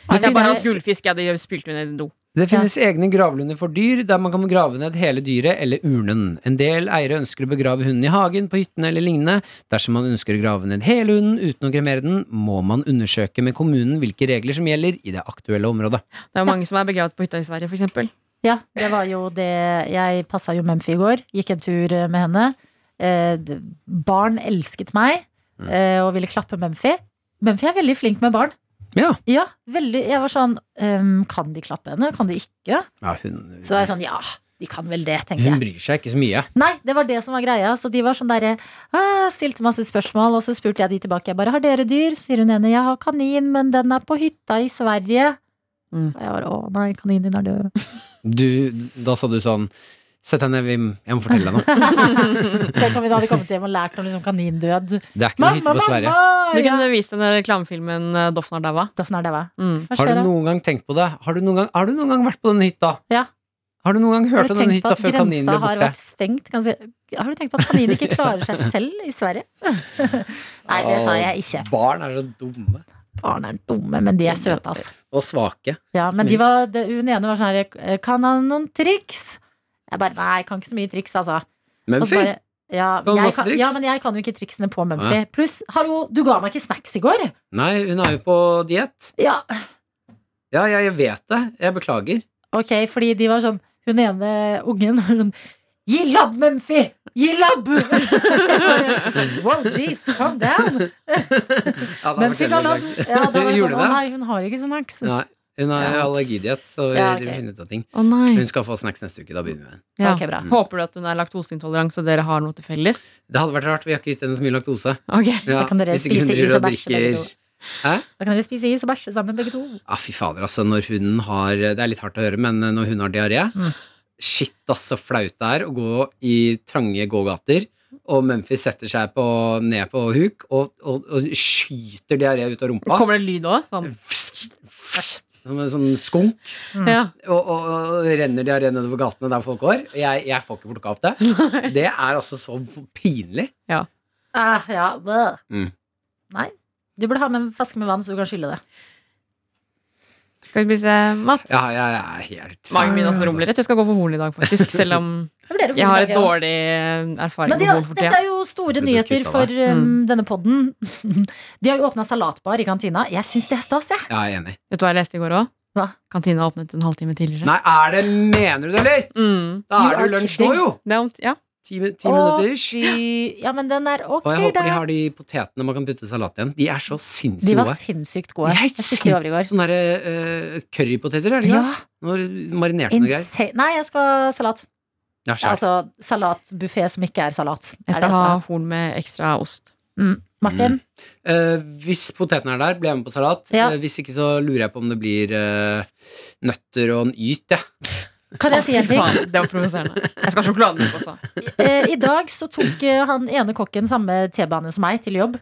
Nei,
Det er bare
finnes-
at gullfisk ja, de spilte hun ned i do.
Det finnes egne gravlunder for dyr, der man kan grave ned hele dyret eller urnen. En del eiere ønsker å begrave hunden i hagen, på hyttene eller lignende. Dersom man ønsker å grave ned hele hunden uten å kremere den, må man undersøke med kommunen hvilke regler som gjelder i det aktuelle området.
Det er jo mange som er begravet på hytta i Sverige, for eksempel.
Ja, det var jo det Jeg passa jo Mumphy i går. Gikk en tur eh, med henne. Eh, d- barn elsket meg
Mm.
eh, og ville klappe Mumphy. Mumphy er veldig flink med barn.
Ja.
Ja, veldig. Jeg var sånn ehm, Kan de klappe henne? Kan de ikke?
Ja, hun,
Så var jeg sånn Ja, de kan vel det, tenkte
hun
jeg.
bryr seg ikke så mye.
Nei, det var det som var greia. Så de var sånn derre ah, Stilte masse spørsmål, og så spurte jeg de tilbake. Jeg bare Har dere dyr? Så sier hun ene jeg har kanin, men den er på hytta i Sverige.
Mm.
Og jeg bare Å nei, kaninen din er død.
Du, da sa du sånn Sett deg ned, Wim. Jeg må fortelle deg noe.
Tenk om vi da hadde kommet hjem og lært om liksom kanindød.
Det er ikke noe hytte på Sverige.
Du
Ja.
kunne vist den der reklamefilmen eh, Doffen har daua.
Doffen er daua.
Mm.
Hva
Har
skjer
du
da?
noen gang tenkt på det? Har du noen gang, har du noen gang vært på denne hytta?
Ja.
Har du noen gang
Har
hørt
du
om denne
tenkt på
hytta
at
før kaninen ble
grensa har
borte?
vært stengt? Kan jeg si- Har du tenkt på at kaninen ikke klarer seg selv i Sverige? Nei, det sa jeg ikke.
Barn er så dumme.
Barn er dumme, men de er søte, altså.
Og svake.
Ja, men de
Minst.
var, det, hun ene var sånn her Kan han noen triks? Jeg bare Nei, kan ikke så mye triks, altså. Og så
Mumphy!
bare, ja,
Kan du
jeg
masse
kan,
triks?
ja, men jeg kan jo ikke triksene på Mumphy.
Nei.
Pluss, hallo, du ga meg ikke snacks i går!
Nei, hun er jo på diett.
Ja,
Ja, ja, jeg vet det. Jeg beklager.
Ok, fordi de var sånn Hun ene ungen var sånn Gi labb, Mumphy! Gi labb! wow, jeez, calm down!
Ja, da
Mumphy ga
forteller
labb.
jeg straks.
Ja, da var jeg
Gjorde
sånn, å
det?
nei, hun har ikke sånn aks.
Nei, hun har
Ja.
allergidiett, så vi
Ja, ok.
finner ut av ting.
Å nei.
Hun skal Mm. få snacks neste uke. Da begynner vi med den.
Ja.
Ok, bra.
Håper du at hun er laktoseintolerant, så dere har noe til felles?
Det hadde vært rart. Vi har ikke gitt henne så mye laktose.
Ok.
Ja,
Da kan dere
hvis ikke hun
spise is
driver
og bæsje begge
drikker- Hæ?
Da kan dere spise is og bæsje sammen, begge to.
Ja, fy fader, altså. Når hun har Det er litt hardt å høre, men eh, når hun har diaré
Mm.
Shit, ass, så flaut det er å gå i trange gågater. Og Memphis setter seg på, ned på huk og, og, og skyter diaré ut av rumpa.
Kommer det lyd òg? Sånn.
Som en sånn skunk.
Ja.
og, og, og renner diaré nedover gatene der folk går. Jeg, jeg får ikke plukka opp det. Det er altså så pinlig.
Ah, ja, bleh.
Mm.
Nei. Du burde ha med en flaske med vann, så du kan skylle det.
Skal vi spise mat?
Ja, jeg er helt
Magen min
ferdig,
også
altså.
rumler litt. Jeg skal gå for horn i dag, faktisk. Selv om
Da blir det
jeg
god
har et
dag, ja.
dårlig eh,
Men
erfaring med
det,
horn for
dette
tida.
er jo store
Skulle du
nyheter
kvitta
for
deg?
um,
Mm.
denne podden. De har jo åpna salatbar i kantina. Jeg syns det er stas, jeg.
Ja, jeg er enig.
Vet du hva jeg leste i går òg?
Hva?
Kantina åpnet en halvtime tidligere.
Nei, er det Mener du det, eller?
Mm.
Da er
You
det
are
jo lunsj nå,
kidding.
jo!
Det er om, ja.
Ti, mi- ti
Å,
minutter ish.
fy. Ja, men den er ok,
Og jeg håper de
da.
har de potetene man kan putte i salat igjen. De er så sinnssykt
De var
gode.
sinnssykt gode.
Jeg
Jeg spiste de over i går.
Sånne derre eh, currypoteter, er det ikke?
Ja.
Når marinerte noe greier.
Insane. Nei, jeg skal ha salat.
Ja, skjær.
Altså salatbuffé som ikke er salat. Er
Jeg skal
det
ha
som er.
sånn horn med ekstra ost.
Martin,
Eh, hvis potetene er der, blir jeg med på salat.
Ja.
Eh, hvis ikke så lurer jeg på om det blir eh, nøtter og en yt, jeg.
kan jeg si en ting?
Faen, det var provoserende. Jeg skal ha sjokolademelk også.
Eh, I dag så tok eh, han ene kokken samme T-bane som meg til jobb.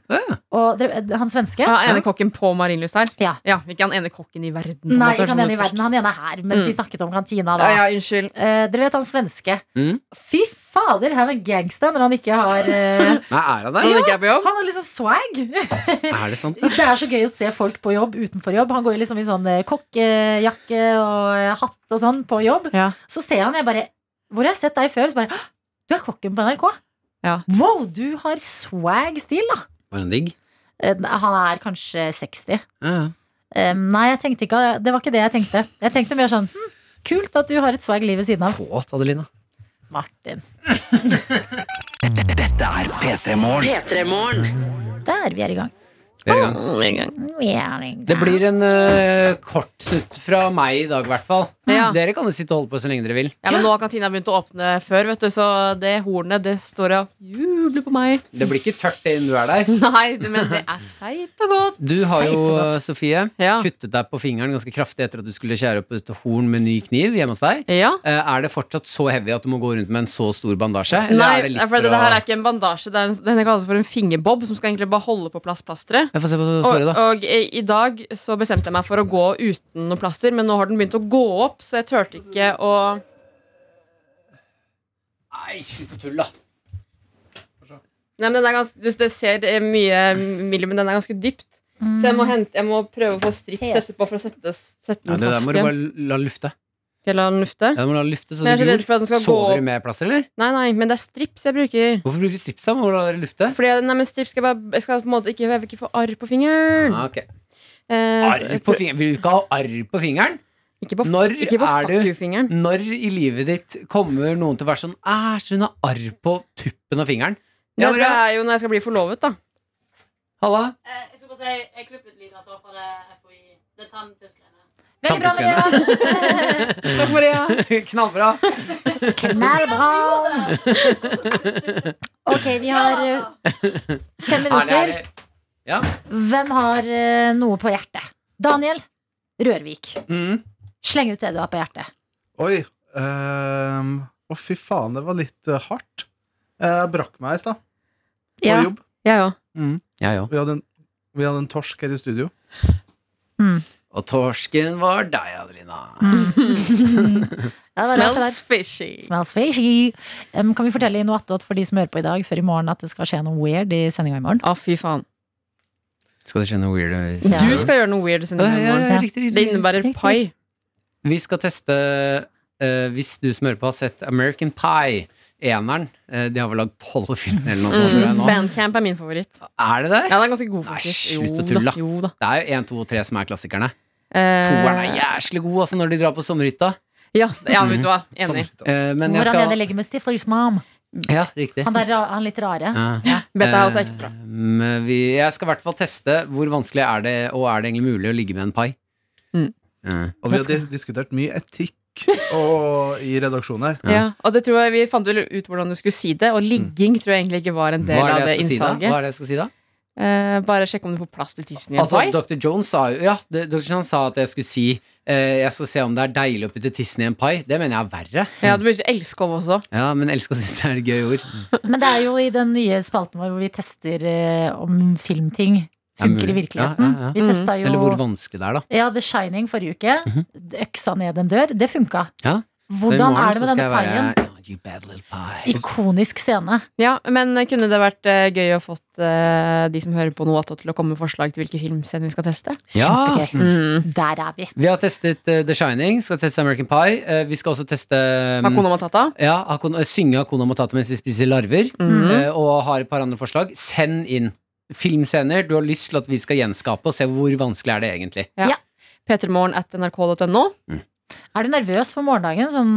Og dere- eh, han svenske.
Ah, ene kokken på Marienlyst her?
Ja.
Ikke han ene kokken i verden. på en
Nei,
måte,
ikke
høres
han
sånn
ene i
ut først.
verden. Han ene er her, mens
Mm.
vi snakket om kantina da.
Ja, ja, unnskyld.
Eh, dere vet han svenske.
Mm.
Fy fader, han er gangster når han ikke har eh,
Nei, er han
Når
der?
han ikke er på jobb?
Han har liksom swag.
Er det sant?
Det er så gøy å se folk på jobb utenfor jobb. Han går jo liksom i sånn eh, kokkejakke og eh, hatt og sånn på jobb.
Ja.
Så ser jeg han, jeg bare Hvor har jeg sett deg før? Så bare «Hå! Du er kokken på NRK!
Ja.
Wow, du har swag stil, da!
Var han digg?
Eh, Han er kanskje 60.
Ja, ja.
Eh, Eh, nei, jeg tenkte ikke, det var ikke det jeg tenkte. Jeg tenkte mer sånn hm, Kult at du har et swag liv ved siden av.
Kåt, Adelina.
Martin.
P3morgen.
Der vi er i gang.
Vi er i gang.
Vi er i gang.
Det blir en eh, kort snutt fra meg i dag, i hvert fall.
Ja.
Dere kan jo sitte og holde på så lenge dere vil.
Ja, men nå har kantina begynt å åpne før, vet du, så det hornet det står og jubler på meg.
Det blir ikke tørt det innen du er der.
Nei, det- men det er seigt og godt.
Du har jo,
Seigt og godt.
Sofie,
Ja.
kuttet deg på fingeren ganske kraftig etter at du skulle skjære opp et horn med ny kniv hjemme hos deg.
Ja.
Eh, Er det fortsatt så heavy at du må gå rundt med en så stor bandasje? Eller
Nei,
er det
det,
litt
for
for
det, det her
å
er ikke en bandasje. Det er en, den kalles for en fingerbob, som skal egentlig bare holde på plass plasteret.
Jeg får se på
Og,
såret, da.
og i i dag så bestemte jeg meg for å gå uten noe plaster, men nå har den begynt å gå opp, så jeg turte ikke å
Nei, slutt å tulle, da.
Nei, men den er ganske, du, Det ser eh, mye milde, men den er ganske dypt. Så jeg må, hente, jeg må prøve å få stripp
Yes.
sette på for å sette, sette
Nei,
den
det der
fast
må du
igjen.
bare la lufte.
Til å la den lufte.
Ja, du må la lufte så
Men jeg er
det
så redd
gror.
for at den skal gå
Sover
opp.
du med plaster, eller?
Nei, nei, men det er strips jeg bruker.
Hvorfor bruker du strips? da? Må du la det lufte?
Fordi jeg, nei, men strips skal jeg bare Jeg skal på en måte ikke, jeg vil ikke få arr på fingeren.
Ah, ok.
Eh,
Arr
så-
på fingeren? Vil du ikke ha arr på fingeren?
Ikke på,
Når
ikke på
er du-
fuck you-fingeren.
Når i livet ditt kommer noen til å være sånn Æsj, hun har arr på tuppen av fingeren. Ja,
det, det
Maria.
er jo når jeg skal bli forlovet, da.
Halla.
Eh, Jeg skulle bare si, jeg klippet lyd altså fra det FOI. Det er tannpuskerne.
Veldig bra, Maria.
Takk, Maria.
Knallbra.
Knallbra. Ok, vi har eh, fem minutter.
Herlig, herlig.
Hvem har eh, noe på hjertet? Daniel Rørvik.
Mm.
Sleng ut det du har på hjertet.
Oi. ehm, Å, fy faen, det var litt eh, hardt. Jeg brakk meg i stad på
Ja.
jobb.
Jeg òg.
Jeg òg.
Vi hadde, en, vi hadde en torsk her i studio.
Mm.
Og torsken var deg, Adelina.
Ja, det var rart det der.
Smells fishy.
Mm. Smells fishy. Em, kan vi fortelle i noe attåt for de som hører på i dag, før i morgen, at det skal skje noe weird i sendinga i morgen?
Å, fy faen.
Skal det skje noe weird?
Ja.
Du skal gjøre noe weird i
ja, ja,
morgen.
ja, riktig,
Det
riktig.
innebærer
Riktig.
pai.
Vi skal teste eh, Hvis du som hører på har sett American Pie, eneren eh, De har vel lagd tolv filmer eller noe sånt tror jeg
Mm.
nå.
Bandcamp er min favoritt.
Er det det?
Ja, den er ganske god,
Nei,
faktisk.
slutt å
Jo
tulle.
da, Jo da.
Det er jo én, to og tre som er klassikerne.
Eh,
Toeren er jæslig god altså, når de drar på sommerhytta.
ja, ja, vet du hva. Enig.
Eh, men jeg
Hvor han ene
skal
ligger med Stifler's mom.
Ja, riktig.
Han, der, ra- han litt rare.
Ja.
Beta er også ekstra.
Eh, men vi, jeg skal i hvert fall teste hvor vanskelig er det, og er det egentlig mulig å ligge med en pai.
Mm.
Eh,
Og vi har dis- diskutert mye etikk og, i redaksjonen her.
Ja. Mm.
Ja, og det tror jeg vi fant vel ut hvordan du skulle si det, og ligging tror jeg egentlig ikke var en del
hva, er
av
det
det
jeg skal si, da? hva er
innsalget.
det jeg skal si da?
Eh, bare sjekk om du får plass til tissen i en
Altså,
pai.
Dr. Jones sa jo Ja, det- Dr. Jones sa at jeg skulle si eh, Jeg skal se om det er deilig å putte tissen i en pai. Det mener jeg er verre.
Ja, du burde ikke elske henne også.
Ja, men elska syns jeg er et gøy ord.
Men det er jo i den nye spalten vår hvor vi tester eh, om filmting funker
mulig.
i virkeligheten.
Ja, ja, ja.
Vi testa
Eller hvor
jo
vanskelig det er, da.
ja, The Shining forrige uke. Øksa ned en dør. Det funka.
Ja. Så i
Hvordan
morgen
er det
så
med
skal
denne
jeg
paien?
være- Oh, you bad little pie.
Ikonisk scene.
Ja, men kunne det vært eh, gøy å fått eh, de som hører på noe til å komme med forslag til hvilke filmscener vi skal teste? Mm.
Ja. mm.
Kjempegøy. Der er vi.
Vi har testet eh, The Shining, skal teste American Pie. Eh, vi skal også teste um,
Hakuna Matata?
ja, Hakuna, synge Hakuna Matata mens vi spiser larver.
Mm.
eh, og har et par andre forslag. Send inn filmscener du har lyst til at vi skal gjenskape, og se hvor vanskelig er det egentlig.
P3morgen at nrk.no.
Er du nervøs for morgendagen? Sånn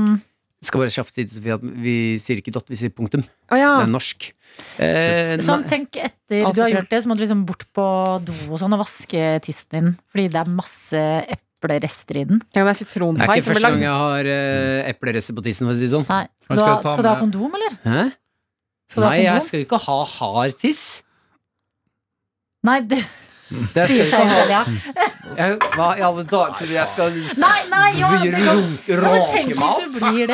Skal bare kjapt si til Sofie at vi sier ikke dot, vi sier punktum.
Å ja.
Ah.
Det er norsk. Eh,
Sånn,
nei.
tenk etter
Alt
du har
for
gjort det, så må du liksom bort på do og sånn og vaske tissen din. Fordi det er masse eplerester i den.
Tenk om det er
det er
sitronpai
ikke
som blir
første gang
lagd.
jeg har uh, eplerester på tissen, for å si det sånn.
Nei.
Men
Skal du ha,
skal jeg ta
skal du ha
med-
kondom, eller?
Hæ?
Skal du ha
Nei, jeg
kondom?
skal jo ikke ha hard tiss.
Nei, det
Det skal
sier
jeg ikke
seg
ha.
selv, ja.
Jeg, hva i alle dager tror du jeg skal
Nei, nei, ja!
Vi
Det kan,
runke-
ja men tenk
råke meg
hvis
opp?
du blir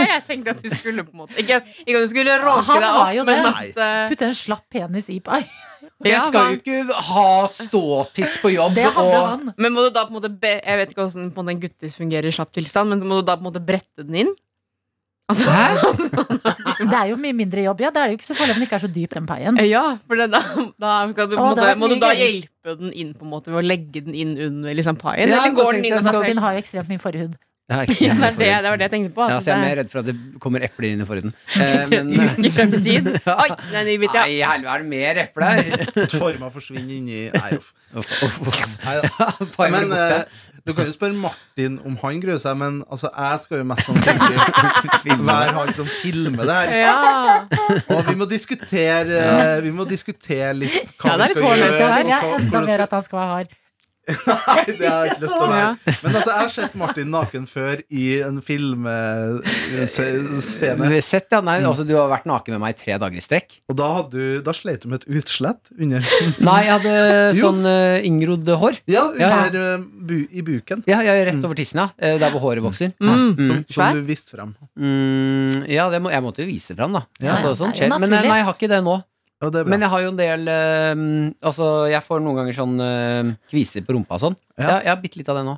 det.
jeg tenkte at du skulle på en måte Ikke, ikke at du skulle råke
Han
deg
har
opp,
jo det.
men at eh,
Putte en slapp penis i pai.
ja,
Jeg skal jo
men-
ikke ha ståtiss på jobb.
Det hadde
og,
han.
Men må du da på en måte be, Jeg vet ikke hvordan på en måte en guttis fungerer i slapp tilstand, men så må du da på en måte brette den inn? Altså,
Det er jo mye mindre jobb, ja. Det er det jo ikke så farlig om den ikke er så dyp, den paien.
ja, for det, da, da skal du,
Mm. Å, det
på en måte,
har vært
må du
mye
da
gøy.
hjelpe den inn på en måte ved å legge den inn under liksom, paien?
Ja,
eller
da
går
tenkte
den inn
jeg
og
skal-
seg
Martin har jo ekstremt mye forhud.
Ja, ikke sant,
Ja, det, er det,
forhuden.
det var det jeg tenkte på.
Ja,
at
så jeg er
det
mer
er-
redd for at det kommer epler inn i forhuden. Eh, men
Uker frem i tid. Oi, det er en ny bit, ja.
Nei, helvete, er det mer epler her?
Forma forsvinner inni Nei, uff.
Uff, uff, uff.
Nei da.
Bare
Men
borte.
eh, du kan jo spørre Martin om han gruer seg, men altså, jeg skal jo mest sannsynlig være han som filmer det her.
Ja.
Og vi må diskutere eh, Vi må diskutere litt hva
Ja, det er
vi
litt
skal
hårløst
gjøre.
her.
og
Jeg er
hva-
enda
hvordan
mer
skal-
at han skal være hard.
Nei, det har jeg ikke lyst til å være.
Ja.
Men altså, jeg har sett Martin naken før i en eh, filmscene.
Men Sett, ja. Nei, altså, du har vært naken med meg i tre dager i strekk.
Og da, hadde du, da slet du med et utslett under
Nei, jeg hadde
Jo.
sånn eh, inngrodd hår.
Ja,
Ja.
under eh, bu, i buken.
Ja, ja, rett over tissen, ja. Eh, Der hvor håret vokser.
Mm.
Som,
Svær?
som du viste frem.
Mm, ja, det må, jeg måtte jo vise fram, da.
Ja.
altså, sånn
Det er jo
skjer. Men eh,
naturlig.
nei, jeg har ikke det nå.
Ja, det er bra.
Men jeg har jo en del eh, Altså, jeg får noen ganger sånn eh, kviser på rumpa og sånn.
Ja.
Ja, jeg har bitte litt av det nå.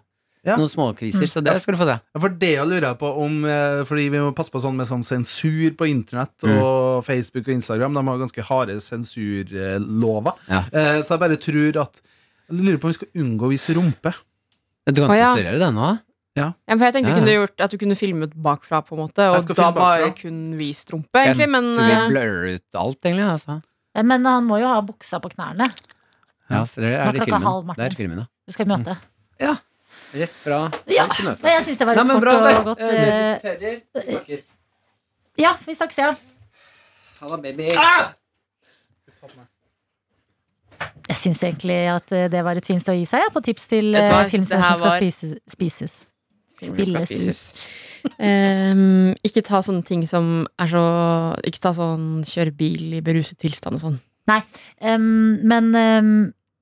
Ja.
Noen småkviser,
Mm.
så det skal du få se.
Ja, For det jeg lurer jeg på om eh, Fordi vi må passe på sånn med sånn sensur på internett
Mm.
og Facebook og Instagram. De har ganske harde sensurlover.
Ja.
Eh, så jeg bare tror at Jeg lurer på om vi skal unngå å vise rumpe.
Du kan
Å, ja.
sensurere det nå.
Ja, for jeg tenkte
Ja,
kunne
ja.
gjort at du kunne filmet bakfra, på en måte,
Jeg
og
skal
da
filme
bare
bakfra.
kun vist rumpe, egentlig, men
Så vi
eh,
blurrer ut alt, egentlig. Altså.
Eh, Men han må jo ha buksa på knærne.
Ja, for det
Nå
er i
klokka
filmen.
halv, Martin.
Det er i filmen, ja.
Du skal i møte.
Rett fra
Ja,
Nei, ikke møte.
Men jeg syns det var
Nei,
et
men
kort
bra, det.
og godt eh,
Eh, vi diskuterer. Snakkes.
Ja, vi snakkes, ja.
Ha det, baby.
Jeg syns egentlig at eh, det var et fint sted å gi seg, ja, på tips til
Vet du hva,
eh,
jeg synes
filmsnacks
det her
som skal
var-
spises. spises.
Filmer skal
Spilles
spises. Ehm, ikke ta sånne ting som er så Ikke ta sånn kjøre bil i beruset tilstand og sånn.
Um, men um,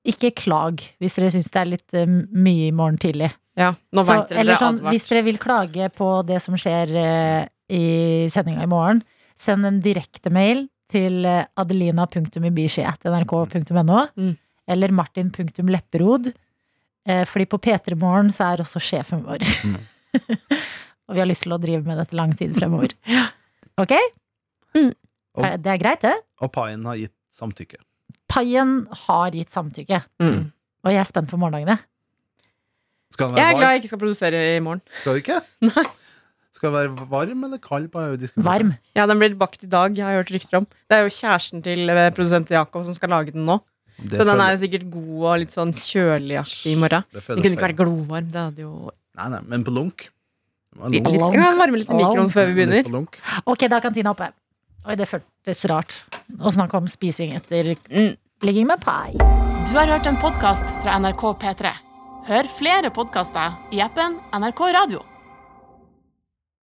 ikke klag hvis dere syns det er litt um, mye i morgen tidlig.
Ja, nå
Så,
vet dere
eller sånn,
advart.
hvis dere vil klage på det som skjer eh, i sendinga i morgen, send en direktemail til eh, adelina.ibishi.nrk.no
Mm.
eller martin.lepperod. Eh, fordi på P3 Morgen så er også sjefen vår. Og vi har lyst til å drive med dette lang tid fremover. Ok?
Mm.
Er- Det er greit, det.
Og paien har gitt samtykke.
Paien har gitt samtykke.
Mm.
Og jeg er spent på morgendagene.
Skal den
Jeg er
være
glad
varm?
jeg ikke skal produsere i morgen.
Skal du ikke? Skal den være varm eller kald? på disken?
Varm.
Ja, Den blir bakt i dag, har jeg hørt rykter om. Det er jo kjæresten til eh, produsent Jakob som skal lage den nå.
Det
Så den er
føles-
jo sikkert god og litt sånn kjøligaktig i morgen.
det
Den
føles
kunne ikke
feil.
være glovarm. Det hadde jo
Nei, nei, men på lunk. Det var
litt,
lunk.
litt, kan varme litt i mikroen før vi
Litt
begynner.
på lunk.
Ok, da er kantina oppe. Oi, det føltes rart å snakke om spising etter
Mm.
ligging med pai.
Du har hørt en podkast fra NRK P3. Hør flere podkaster i appen NRK Radio.